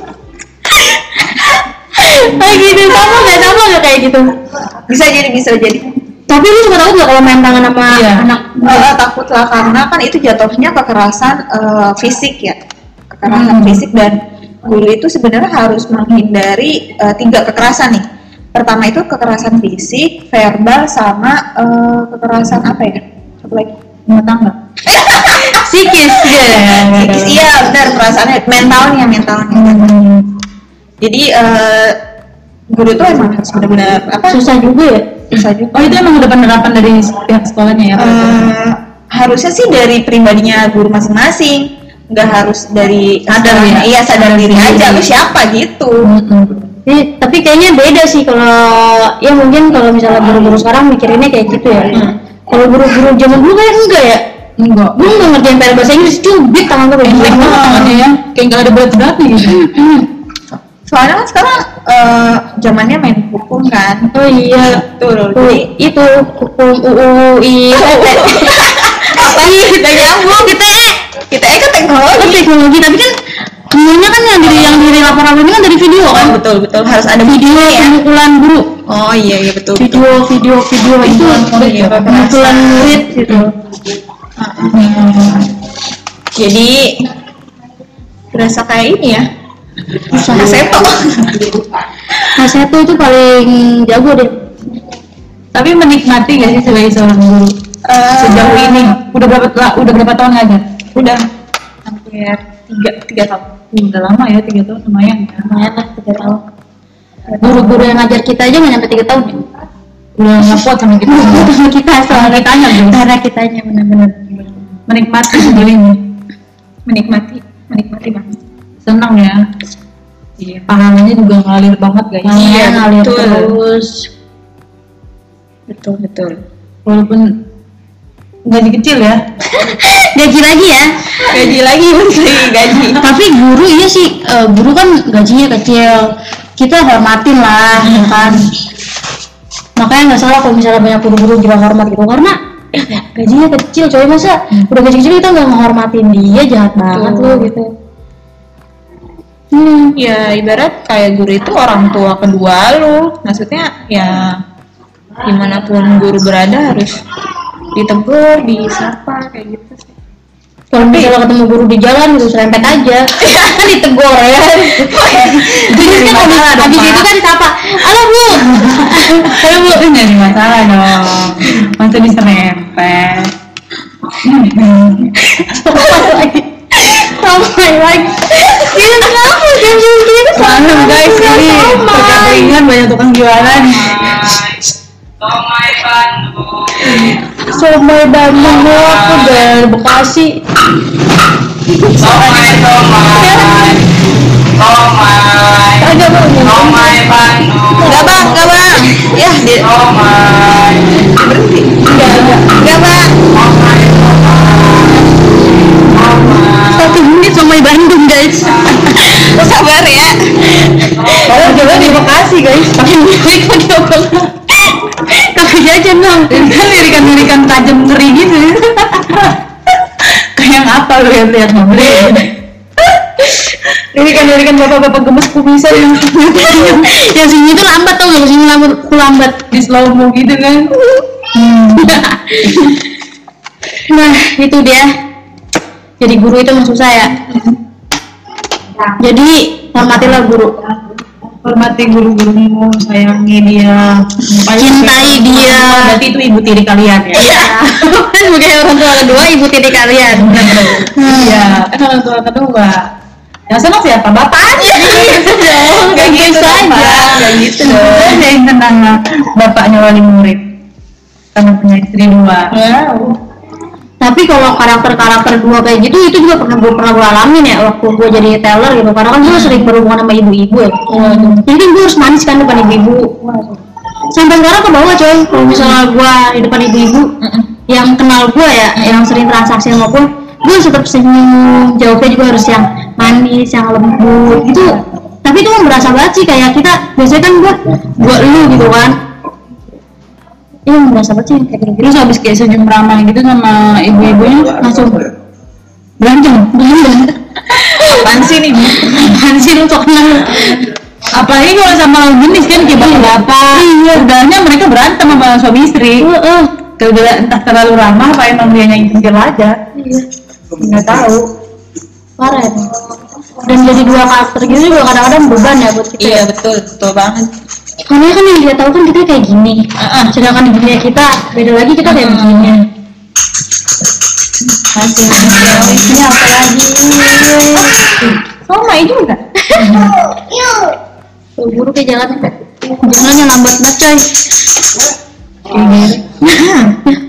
S2: kayak gitu sama nggak sama nggak kayak gitu
S3: bisa jadi bisa jadi
S2: tapi lu suka takut nggak kalau main tangan sama
S1: Iya.
S2: anak
S3: Eh, takut lah karena kan itu jatuhnya kekerasan eh, fisik ya kekerasan fisik dan guru itu sebenarnya harus menghindari eh, tiga kekerasan nih pertama itu kekerasan fisik verbal sama eh, kekerasan apa ya satu lagi
S1: rumah tangga
S2: psikis ya
S1: iya,
S3: Psikis, iya benar perasaannya mentalnya mentalnya jadi eh, guru itu emang harus benar-benar apa
S2: susah juga ya
S3: susah juga
S1: oh itu emang udah penerapan dari pihak sekolahnya ya
S3: Eh, harusnya sih dari pribadinya guru masing-masing nggak harus dari
S1: Sadar ya?
S3: iya sadar diri aja lu siapa gitu
S2: Jadi, tapi kayaknya beda sih kalau ya mungkin kalau misalnya guru-guru sekarang mikirinnya kayak gitu ya kalau guru-guru zaman dulu kayak enggak ya
S1: enggak
S2: gue nggak ngerjain PR bahasa Inggris cubit tangan gue kayak
S1: Jelek
S2: gini.
S1: banget tangannya ya kayak nggak ada berat-beratnya gitu
S3: soalnya kan sekarang eh, zamannya main hukum kan
S2: oh iya
S3: betul
S2: Tuh,
S3: jadi
S2: itu oh, hukum UU I oh, apa sih kita nyambung kita
S3: kita eh kan
S2: oh,
S3: teknologi
S2: teknologi tapi kan semuanya kan yang dari yang dari laporan ini kan dari video
S3: oh,
S2: kan
S3: betul betul harus ada
S2: video
S3: buktinya ya
S2: pemukulan guru
S3: oh iya iya betul betul
S2: video video video itu
S3: iya,
S2: pemukulan murid gitu
S3: jadi berasa kayak ini ya Mas Eto.
S2: Mas Seto itu paling jago deh
S1: tapi menikmati gak sih sebagai seorang guru
S3: Eh,
S1: sejauh ini udah berapa la- udah berapa tahun ngajar
S3: udah
S1: hampir tiga tiga tahun Hmm, udah lama ya tiga tahun lumayan ya
S2: lumayan lah tiga tahun guru-guru yang ngajar kita aja nggak nyampe tiga tahun ya.
S1: udah nggak kuat sama kita
S2: karena kita
S1: Karena
S2: soalnya
S1: kitanya belum.
S2: karena kitanya benar-benar
S1: menikmati sejauh ini
S4: menikmati menikmati banget
S1: senang ya iya pahalanya juga ngalir banget guys
S2: Iya, ngalir
S3: betul.
S2: terus.
S3: betul betul
S1: walaupun gaji kecil ya
S2: Gaji lagi ya.
S3: gaji lagi menteri gaji
S2: Tapi guru iya sih, eh, guru kan gajinya kecil. Kita hormatin lah,
S1: Iya.
S2: ya kan. Makanya nggak salah kalau misalnya banyak guru-guru juga hormat gitu karena eh, gajinya kecil coy masa
S1: Hmm.
S2: udah gaji kecil kita nggak menghormatin dia jahat banget
S3: Betul.
S2: loh gitu hmm.
S3: ya ibarat kayak guru itu orang tua kedua lu maksudnya ya dimanapun guru berada harus ditegur disapa kayak gitu sih
S2: kalau misalnya ketemu guru di jalan gitu serempet aja kan ditegur ya jadi kan
S1: Masalah
S2: habis,
S1: dong,
S2: habis
S1: Pak.
S2: itu kan disapa halo bu halo bu
S1: itu nggak ada masalah dong masa diserempet
S2: Ramai lagi. Ini kenapa jam segini
S1: Malu guys ini
S3: Oh
S1: tukang ringan banyak tukang jualan
S3: Oh
S2: Somai Bandung gua aku dari Bekasi. Agak mau.
S3: enggak bang enggak bang ya di berhenti enggak enggak enggak bang
S2: Satu menit Somai Bandung guys.
S3: Lu sabar ya
S2: Kalau coba di Bekasi guys. Pakai milik pakai apa? Kakak jajan dong.
S1: kan lirikan-lirikan tajam ngeri gitu kayak yang apa lu yang lihat ngeri lirikan-lirikan bapak-bapak gemes ya? kumisan yang
S2: Yang sini itu lambat tau nggak? Sini lambat, aku lambat.
S1: di slow mo gitu kan
S2: Nah itu dia. Jadi guru itu emang susah ya. Jadi hormatilah guru.
S1: hormati guru-gurumu sayangi dia
S2: Cintai dia.
S1: berarti itu ibu tiri kalian ya Oh,
S2: Iya. Kan sebagai orang tua kedua ibu tiri kalian.
S1: iya kan orang tua kedua yang senang siapa bapaknya
S3: Oh,
S2: Enggak gitu aja.
S3: enggak gitu
S1: ada yang senang bapaknya wali murid karena punya istri dua
S3: wow
S2: tapi kalau karakter-karakter gua kayak gitu itu juga pernah gue pernah gue alamin ya waktu gue jadi teller gitu karena kan gue sering berhubungan sama ibu-ibu ya jadi kan gue harus manis kan depan ibu-ibu sampai sekarang ke bawah coy kalau misalnya gue di depan ibu-ibu yang kenal gue ya yang sering transaksi sama gue gue harus tetap senyum jawabnya juga harus yang manis yang lembut gitu tapi itu kan berasa banget sih kayak kita biasanya kan gue gue lu gitu kan iya berasa banget sih kayak gitu
S1: terus habis kayak senyum ramah gitu sama ibu-ibunya langsung berantem berantem
S3: apaan sih nih
S2: apaan sih lu kok kenal?
S1: apalagi kalau sama lawan jenis kan kayak bapak-bapak
S3: Iya.
S1: sebenarnya mereka berantem sama suami istri
S2: Heeh.
S1: gara entah terlalu ramah apa emang dia yang intil aja nggak tahu
S2: parah ya dan jadi dua karakter gitu juga kadang-kadang beban ya buat kita
S3: iya betul betul banget
S2: karena kan yang dia tahu kan kita kayak gini sedangkan di dunia kita beda lagi kita kayak begini
S1: ini apa lagi sama itu enggak
S2: Tuh, buru kayak jalan jalannya lambat banget coy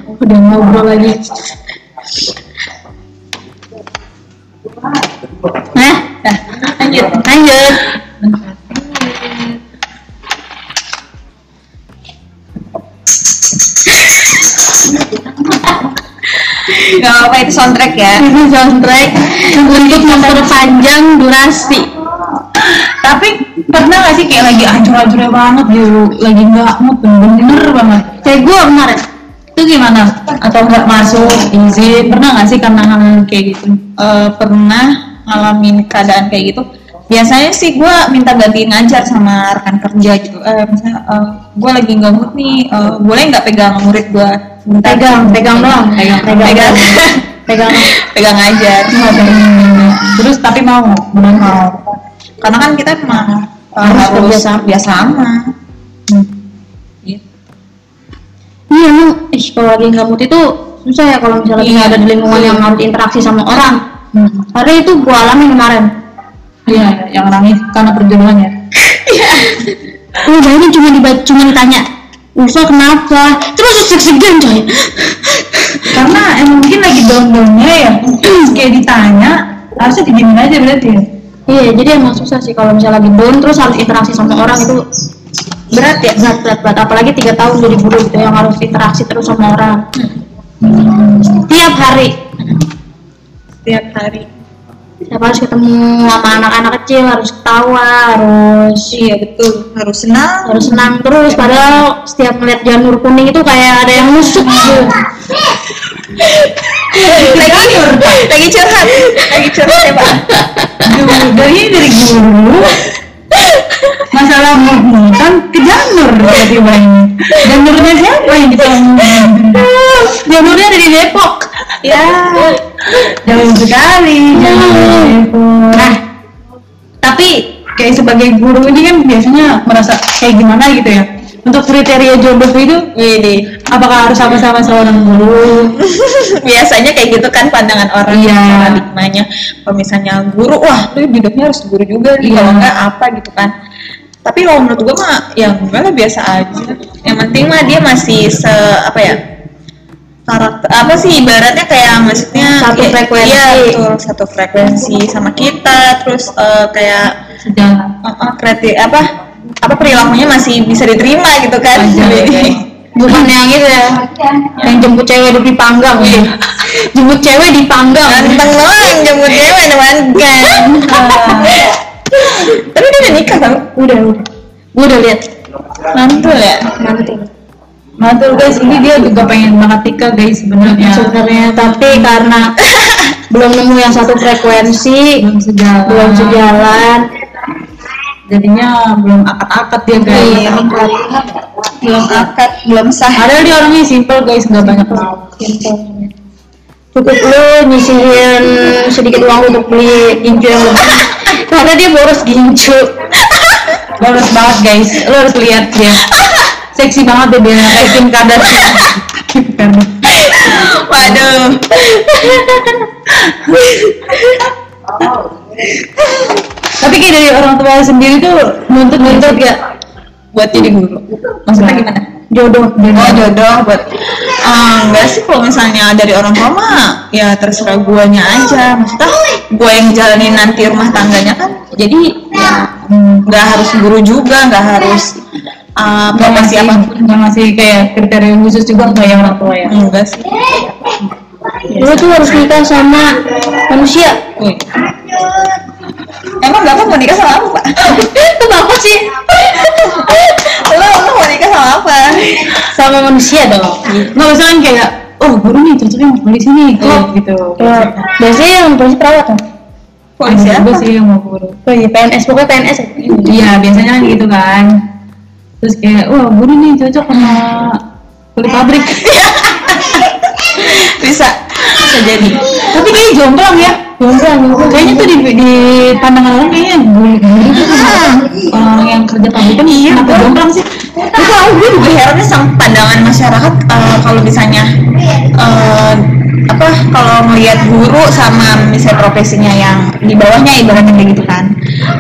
S2: udah ngobrol lagi nah lanjut lanjut
S3: nggak apa itu soundtrack ya
S2: ini soundtrack untuk memperpanjang durasi
S1: tapi pernah nggak sih kayak lagi ancur-ancurnya banget gitu lagi nggak mood bener-bener banget
S2: kayak gue kemarin
S1: itu gimana atau nggak masuk izin pernah nggak sih karena hal kayak gitu
S3: Eh, pernah ngalamin keadaan kayak gitu biasanya sih gue minta ganti ngajar sama rekan kerja gitu eh, misalnya gue lagi nggak mood nih eh, boleh nggak pegang murid gue
S2: pegang pegang doang pegang
S3: pegang
S2: pegang
S3: pegang ngajar
S1: terus tapi mau belum mau
S3: karena kan kita emang eh,
S2: Harus
S3: harus
S2: kerja
S3: biasa
S2: sama.
S3: sama
S2: iya emang ih kalau lagi nggak mood itu susah ya kalau misalnya
S3: Iya.
S2: kita ada di lingkungan yang harus interaksi sama orang karena itu gue alami kemarin
S1: iya yang nangis karena perjuangan ya
S2: lu bayangin Oh, nah cuma dibaca cuma ditanya Usul kenapa? Terus seg-segan coy
S1: karena emang mungkin lagi down-downnya ya terus kayak ditanya harusnya diginin aja berarti ya
S2: Iya, jadi emang susah sih kalau misalnya lagi down terus harus interaksi sama orang itu berat ya berat berat berat apalagi tiga tahun jadi guru gitu yang harus interaksi terus sama orang tiap hari
S3: tiap hari
S2: Siapa harus ketemu sama anak-anak kecil harus ketawa harus
S3: iya betul harus senang
S2: harus senang terus padahal setiap melihat janur kuning itu kayak ada yang nusuk gitu
S3: Eh, lagi lagi curhat lagi curhat ya pak
S1: Duh, dari dari guru masalah mood kan ke janur tiba-tiba ini janurnya siapa yang kita ngomongin?
S2: janurnya ada di Depok
S3: ya
S1: jauh sekali
S2: Jauh.
S1: jauh. nah tapi kayak sebagai guru ini kan biasanya merasa kayak gimana gitu ya untuk kriteria jodoh itu
S3: ini
S1: apakah harus sama-sama seorang guru
S3: biasanya kayak gitu kan pandangan orang
S1: Iya.
S3: paradigmanya kalau misalnya guru wah lu hidupnya harus guru juga nih
S1: Iya.
S3: kalau enggak apa gitu kan tapi kalau menurut gua mah ya enggak lah biasa aja yang penting mah dia masih se apa ya karakter apa sih ibaratnya kayak maksudnya
S2: Satu
S3: iya-
S2: frekuensi.
S3: iya, betul, satu frekuensi sama kita terus eh, kayak
S1: sejalan
S3: eh, eh, kreatif apa apa perilakunya masih bisa diterima gitu kan
S1: Wajar, wajar.
S2: bukan yang gitu ya yang jemput cewek di panggang jemput cewek di panggang
S3: Ganteng doang jemput cewek teman kan. Tapi dia udah nikah kan?
S2: udah udah gue udah lihat
S3: Mantul ya.
S2: nanti
S1: Mantul Nah, guys, ini dia juga pengen banget Tika guys
S2: Iya.
S1: sebenarnya.
S2: sebenarnya tapi karena belum nemu yang satu frekuensi
S1: Belum sejalan.
S2: belum sejalan
S1: Jadinya belum akad-akad dia guys.
S3: Iya. Belum akad, belum sah.
S1: Padahal dia orangnya simple guys, nggak banyak
S2: gitu. cukup lu nyisihin sedikit uang untuk beli gincu yang lebih karena dia boros gincu
S1: Lo harus banget guys, lo harus lihat dia. Seksi banget deh dia, kayak Kim Kardashian. Kim Kardashian.
S3: Waduh.
S1: Tapi kayak
S2: Iya.
S1: dari orang tua sendiri tuh nuntut-nuntut ya.
S3: Buat jadi guru. Maksudnya gimana?
S2: jodoh
S3: Oh jodoh buat ah, enggak sih kalau misalnya dari orang tua mah ya terserah guanya aja maksudnya gua yang jalanin nanti rumah tangganya kan jadi
S1: Nah,
S3: ya hmm, nggak harus guru juga nggak harus ah,
S1: nggak
S3: profesi
S1: masih
S3: apa
S1: nggak masih kayak kriteria khusus juga nggak yang orang tua ya
S3: enggak sih
S2: lu tuh harus nikah sama manusia
S3: Wih. emang bapak mau nikah sama apa pak
S2: itu apa sih
S3: lo lo mau nikah sama apa
S2: sama manusia dong
S1: nggak misalkan kayak oh guru nih cocoknya mau polisi nih
S3: Iya.
S1: kayak gitu
S2: Tuh, biasanya yang polisi perawat kan
S3: polisi apa
S1: gue sih yang mau guru
S2: oh iya PNS pokoknya PNS ya.
S1: iya biasanya kan gitu kan terus kayak wah guru nih cocok sama kulit pabrik
S3: bisa bisa jadi
S1: tapi kayaknya jomplang ya
S2: jomblo jomblo
S1: kayaknya tuh di, di pandangan orang kayaknya guru guru tuh sama
S2: Ah.
S1: orang yang kerja pabrikan iya kenapa jomplang sih
S3: Itu aku gue juga herannya sama pandangan masyarakat eh, kalau misalnya eh, apa kalau melihat guru sama misalnya profesinya yang di bawahnya ibaratnya kayak gitu kan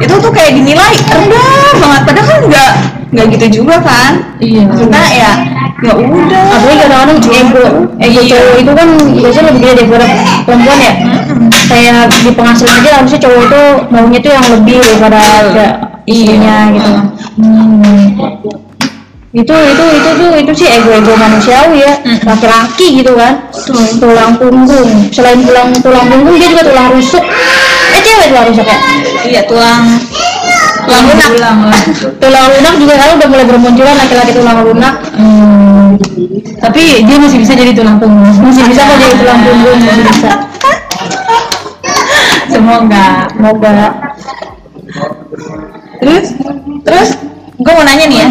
S3: itu tuh kayak dinilai rendah banget padahal kan nggak nggak gitu juga kan
S1: iya
S3: maksudnya ya ya udah
S2: apalagi kadang-kadang ego
S1: Iya.
S2: ego cowok itu kan biasanya lebih gede daripada perempuan ya kayak di pengasuhan aja harusnya cowok itu maunya tuh yang lebih daripada ya, istrinya
S1: Iya.
S2: gitu
S1: Mm.
S2: Hmm. itu itu itu tuh itu sih ego-ego manusiawi ya laki-laki gitu kan tulang punggung selain tulang tulang punggung dia juga tulang rusuk eh cewek tulang rusuk ya
S3: iya tulang tulang lunak
S1: jomplang lah
S2: tulang lunak juga kan udah mulai bermunculan laki-laki tulang lunak
S1: Hmm. tapi dia masih bisa jadi tulang punggung
S2: masih bisa kok jadi tulang punggung masih bisa
S1: semoga
S2: semoga
S3: terus terus gue mau nanya nih ya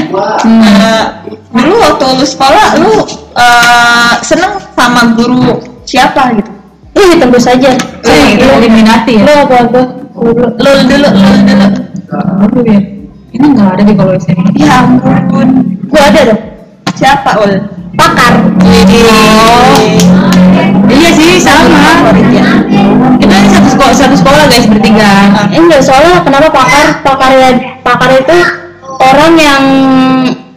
S3: Eh, dulu waktu lu sekolah lu eh, seneng sama guru siapa gitu
S2: Ih, tentu saja.
S1: Eh, itu
S2: Lo-
S1: eliminati ya?
S2: Lo apa apa?
S3: lu dulu lu dulu
S1: Aduh ya. Ini nggak ada di kalau SMA.
S3: ya ampun
S2: Gua ada dong.
S3: siapa ul
S2: Pakar.
S3: Oh.
S1: Iya sih sama.
S3: favorit ya
S1: Kita ini satu sekolah satu sekolah guys bertiga.
S2: Eh, enggak soalnya kenapa pakar? Pakar ya- pakar itu orang yang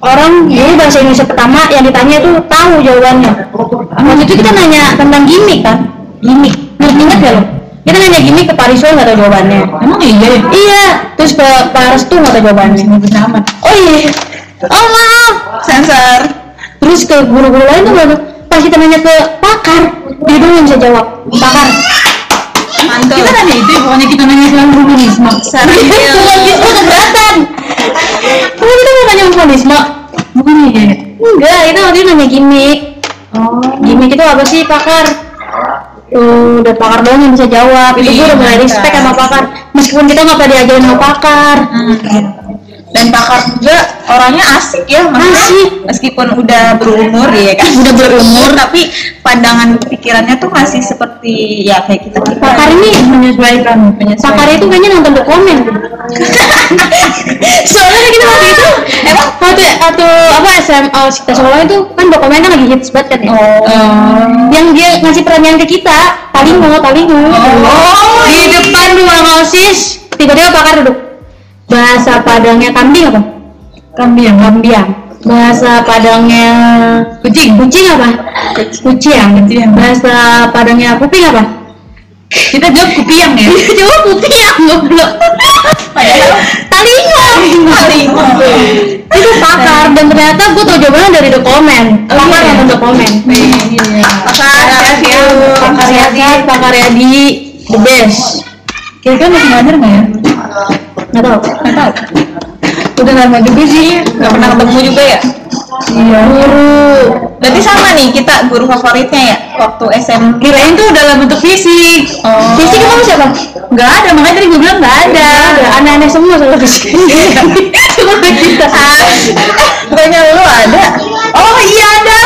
S2: orang dulu bahasa Indonesia pertama yang ditanya itu tahu jawabannya. Waktu itu kita nanya tentang gimmick kan? Gimmick. Ingat ingat ya lo? Kita nanya gimmick ke Pariso nggak tahu jawabannya.
S1: Emang iya ya?
S2: Iya, terus ke Paris tuh nggak tahu jawabannya.
S1: Nyebut nama.
S2: Oh iya. Oh maaf.
S3: sensor
S2: terus ke guru-guru lain tuh baru pas kita nanya ke pakar dia dulu yang bisa jawab pakar
S3: mantul
S1: Kita nanya itu, pokoknya kita nanya tentang komunisme.
S3: Saril.
S1: Iya.
S2: itu oh, keberatan Kenapa kita mau nanya humanisme
S1: Bukan iya ya?
S2: enggak itu waktu itu nanya gimmick
S1: Oh.
S2: gimmick itu apa sih pakar Tuh, udah pakar doang yang bisa jawab itu gue udah mulai
S3: Iya,
S2: respect
S3: mantap.
S2: sama pakar meskipun kita nggak pernah diajarin sama pakar
S3: Hmm. dan pakar juga orangnya asik ya maksudnya
S2: Asik.
S3: meskipun udah berumur ya kan udah berumur tapi pandangan pikirannya tuh masih seperti ya kayak kita kita
S2: pakar ini
S1: Menyesuaikan.
S2: pakar itu kayaknya nonton dokumen soalnya kita waktu itu emang waktu waktu apa SMA kita sekolah itu kan dokumennya lagi hits banget kan ya
S1: Oh.
S2: yang dia ngasih pertanyaan ke kita paling mau paling mau
S3: Oh,
S2: di depan ruang osis tiba-tiba pakar duduk bahasa padangnya kambing apa ya?
S1: Kambing.
S2: kambing bahasa padangnya kucing kucing apa kucing
S1: Kucing.
S2: bahasa padangnya kuping apa
S1: Kita jawab kupiang ya.
S2: jawab kuping goblok talingo
S1: Iya.
S3: paling
S2: itu pakar dan ternyata gue tau jawabannya dari dokumen pakar
S1: iya.
S2: nonton dokumen
S1: Iya.
S3: pakar ya
S2: pakar Yazid pakar Yadi the best
S1: Kira-kira masih ngajar nggak ya?
S2: nggak tau
S1: Nggak tahu. Udah lama juga sih.
S3: nggak pernah ketemu juga ya
S1: Iya.
S2: guru
S3: berarti sama nih kita guru favoritnya ya waktu SM
S1: Kirain tuh dalam bentuk fisik.
S3: oh.
S2: Fisik kamu siapa?
S1: Nggak ada, makanya tadi gue bilang nggak ada.
S2: Ada aneh-aneh semua soal fisik. Semua kita.
S3: Bukannya lu ada? Oh iya ada.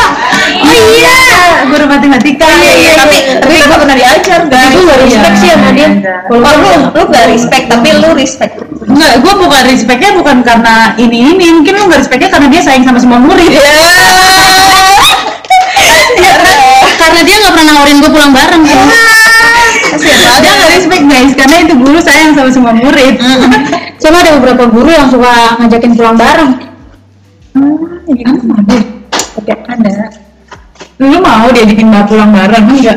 S1: Oh iya. Guru matematika.
S3: Iya iya. Tapi tapi gue pernah diajar guys.
S2: Itu gak respect sih sama dia.
S3: Oh,
S2: Kalau
S3: lu
S2: lu
S3: lu gak respect tapi lu respect.
S1: Enggak, gue bukan respectnya bukan karena ini ini, mungkin lu nggak respectnya karena dia sayang sama semua murid. Iya, kan?
S2: karena dia nggak pernah nawarin gue pulang bareng. kan.
S3: Kasihan banget.
S1: Dia nggak respect guys, karena itu guru sayang sama semua murid. Ah,
S2: Cuma ada beberapa guru yang suka ngajakin pulang bareng.
S1: iya. Emang ada? mau diajakin mbak pulang bareng enggak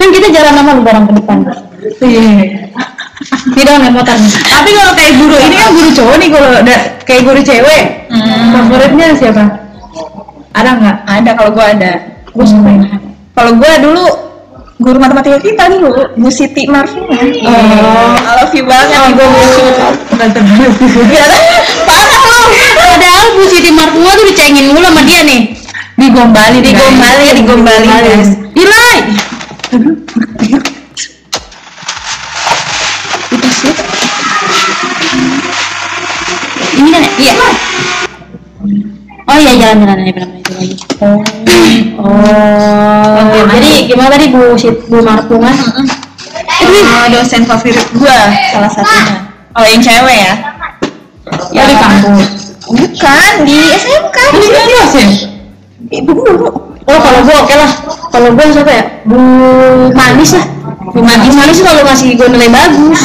S2: kan kita jalan sama lu bareng ke depan
S1: iya
S2: tidak naik motor nih
S1: tapi kalau kayak guru ini kan guru cowok nih kalau da- kayak guru cewek
S2: Hmm.
S1: favoritnya siapa ada nggak
S4: Ada kalau gue ada.
S1: gue suka yang
S3: Kalau gue dulu guru matematika kita dulu, Bu Siti Marvina.
S1: Oh.
S3: I love you banget.
S1: oh gue nggak terbaik
S2: Iya. parah lu padahal Bu Siti Martua tuh dicengin mulu sama dia nih
S1: digombali
S2: digombali digombali guys nilai ini kan iya oh iya jalan jalan ini benar itu lagi oh jadi gimana tadi Bu Sit Bu Martua
S3: Oh, dosen favorit gue salah satunya. Oh yang cewek ya?
S1: ya di kampus
S3: Bukan di SMK.
S1: ini kan dosen
S3: Ibu guru.
S2: oh kalau gua oke lah kalau gua siapa ya Bu Manis lah Bu Manis Manis tuh kalau ngasih gua nilai bagus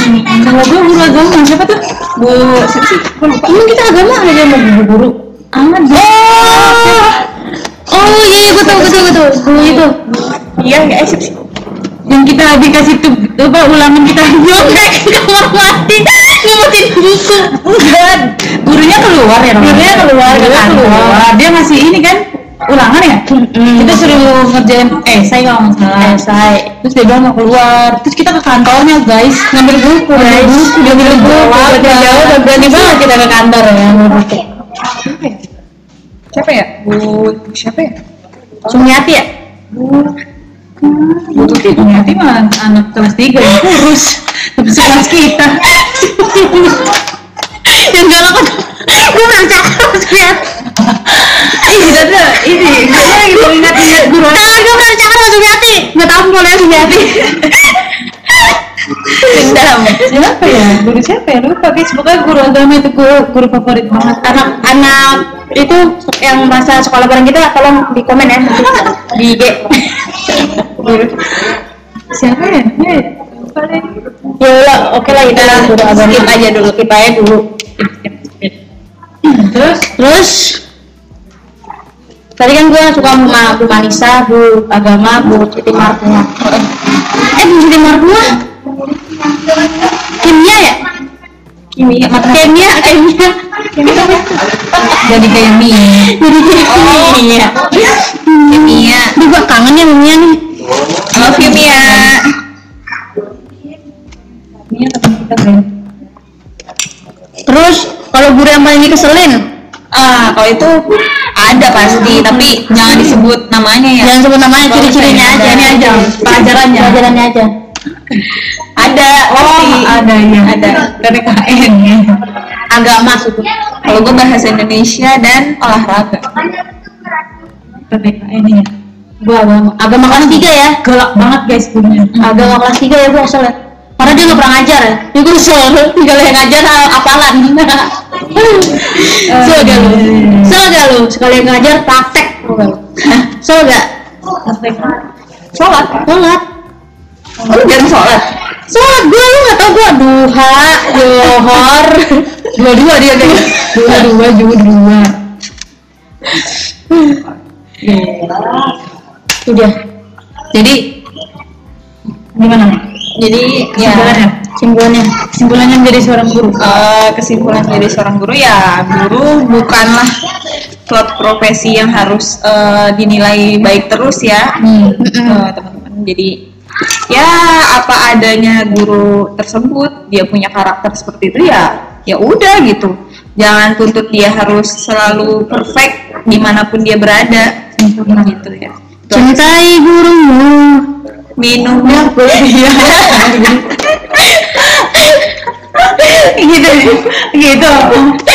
S1: kalau gue guru agama siapa tuh
S3: Bu siapa sih? Gua lupa.
S2: Emang kita agama aja sama guru-guru? Amat Oh, oh iya, iya, gue tau, gue tau, gue tau Guru itu
S3: Iya nggak eh, siapa sih?
S1: yang kita dikasih tuh apa ulangan kita
S2: Jongkek ke kamar mandi Ngumpetin buku
S1: enggak gurunya keluar ya namanya?
S2: Gurunya keluar,
S1: gurunya
S2: ke kantor.
S1: keluar dia ngasih ini kan ulangan ya kita suruh ngerjain eh saya kalau nggak salah
S2: Esai
S1: terus dia bilang mau keluar terus kita ke kantornya guys ngambil buku ngambil buku dia ngambil buku
S2: Udah jauh, udah berani banget kita ke kantor ya
S4: Siapa ya?
S3: Bu siapa ya?
S2: Sumiati ya?
S1: itu sih berarti mah anak kelas tiga yang kurus tapi sekelas kita
S2: Yang galak kan Gue merasa harus lihat
S1: ih kita tuh ini kita lagi mengingat-ingat guru
S2: Tangan gue merasa harus Sumiati Gak tau kalau yang Sumiati
S3: Dendam.
S1: siapa ya guru siapa ya lupa guys pokoknya guru agama itu guru guru favorit banget
S2: Anak-anak itu yang merasa sekolah bareng kita tolong di komen ya di IG
S1: siapa ya Dia ya? lupa deh
S2: ya udah oke lah kita guru agama skip aja dulu skip
S1: ya
S2: aja dulu
S1: terus
S2: terus tadi kan gue suka sama Bu Manisa Bu Agama Bu Siti Martua eh Bu Siti Martua kimia ya kimia kimia eh, kimia
S1: jadi kayak mie
S2: jadi kimia
S1: ya.
S2: kimia Duh, gue kangen ya kimia nih
S3: I love you Mia.
S1: mie teman kita guys
S2: terus kalau guru yang paling dikeselin
S3: Ah kalau itu ada pasti tapi jangan disebut namanya ya.
S2: jangan sebut namanya ciri-cirinya
S3: Bagus, ya.
S2: aja Iya. ini aja
S1: Pelajarannya.
S2: pelajarannya aja
S3: Ada. pasti.
S2: Oh,
S1: ada ya
S3: Ada.
S1: PPKN
S2: agama maksudnya
S3: Kalau gue bahasa Indonesia dan olahraga.
S1: PPKN ya
S2: gua agama agama kelas tiga ya
S1: galak banget guys gurunya
S2: agama kelas tiga ya gua kesel ya karena dia nggak pernah ngajar ya jadi gua kesel tinggal yang ngajar hal apalan Kesel gak lu Kesel gak lu sekali yang ngajar praktek Kesel gak sholat sholat
S3: Oh, lu jarang sholat.
S2: sholat gua lu nggak tau gua duha johor
S1: dua-dua dia guys dua-dua dua-dua
S2: udah
S1: jadi gimana
S3: Jadi ya.
S1: Kesimpulannya?
S2: simbolnya
S1: kesimpulannya menjadi seorang guru
S3: Eh, kesimpulan dari seorang guru ya guru bukanlah suatu profesi yang harus eh, dinilai baik terus ya Eh, teman-teman jadi ya apa adanya guru tersebut dia punya karakter seperti itu ya ya udah gitu jangan tuntut dia harus selalu perfect dimanapun dia berada gitu ya
S2: cintai gurumu
S3: minum
S2: Iya.
S1: gitu gitu
S3: Iya,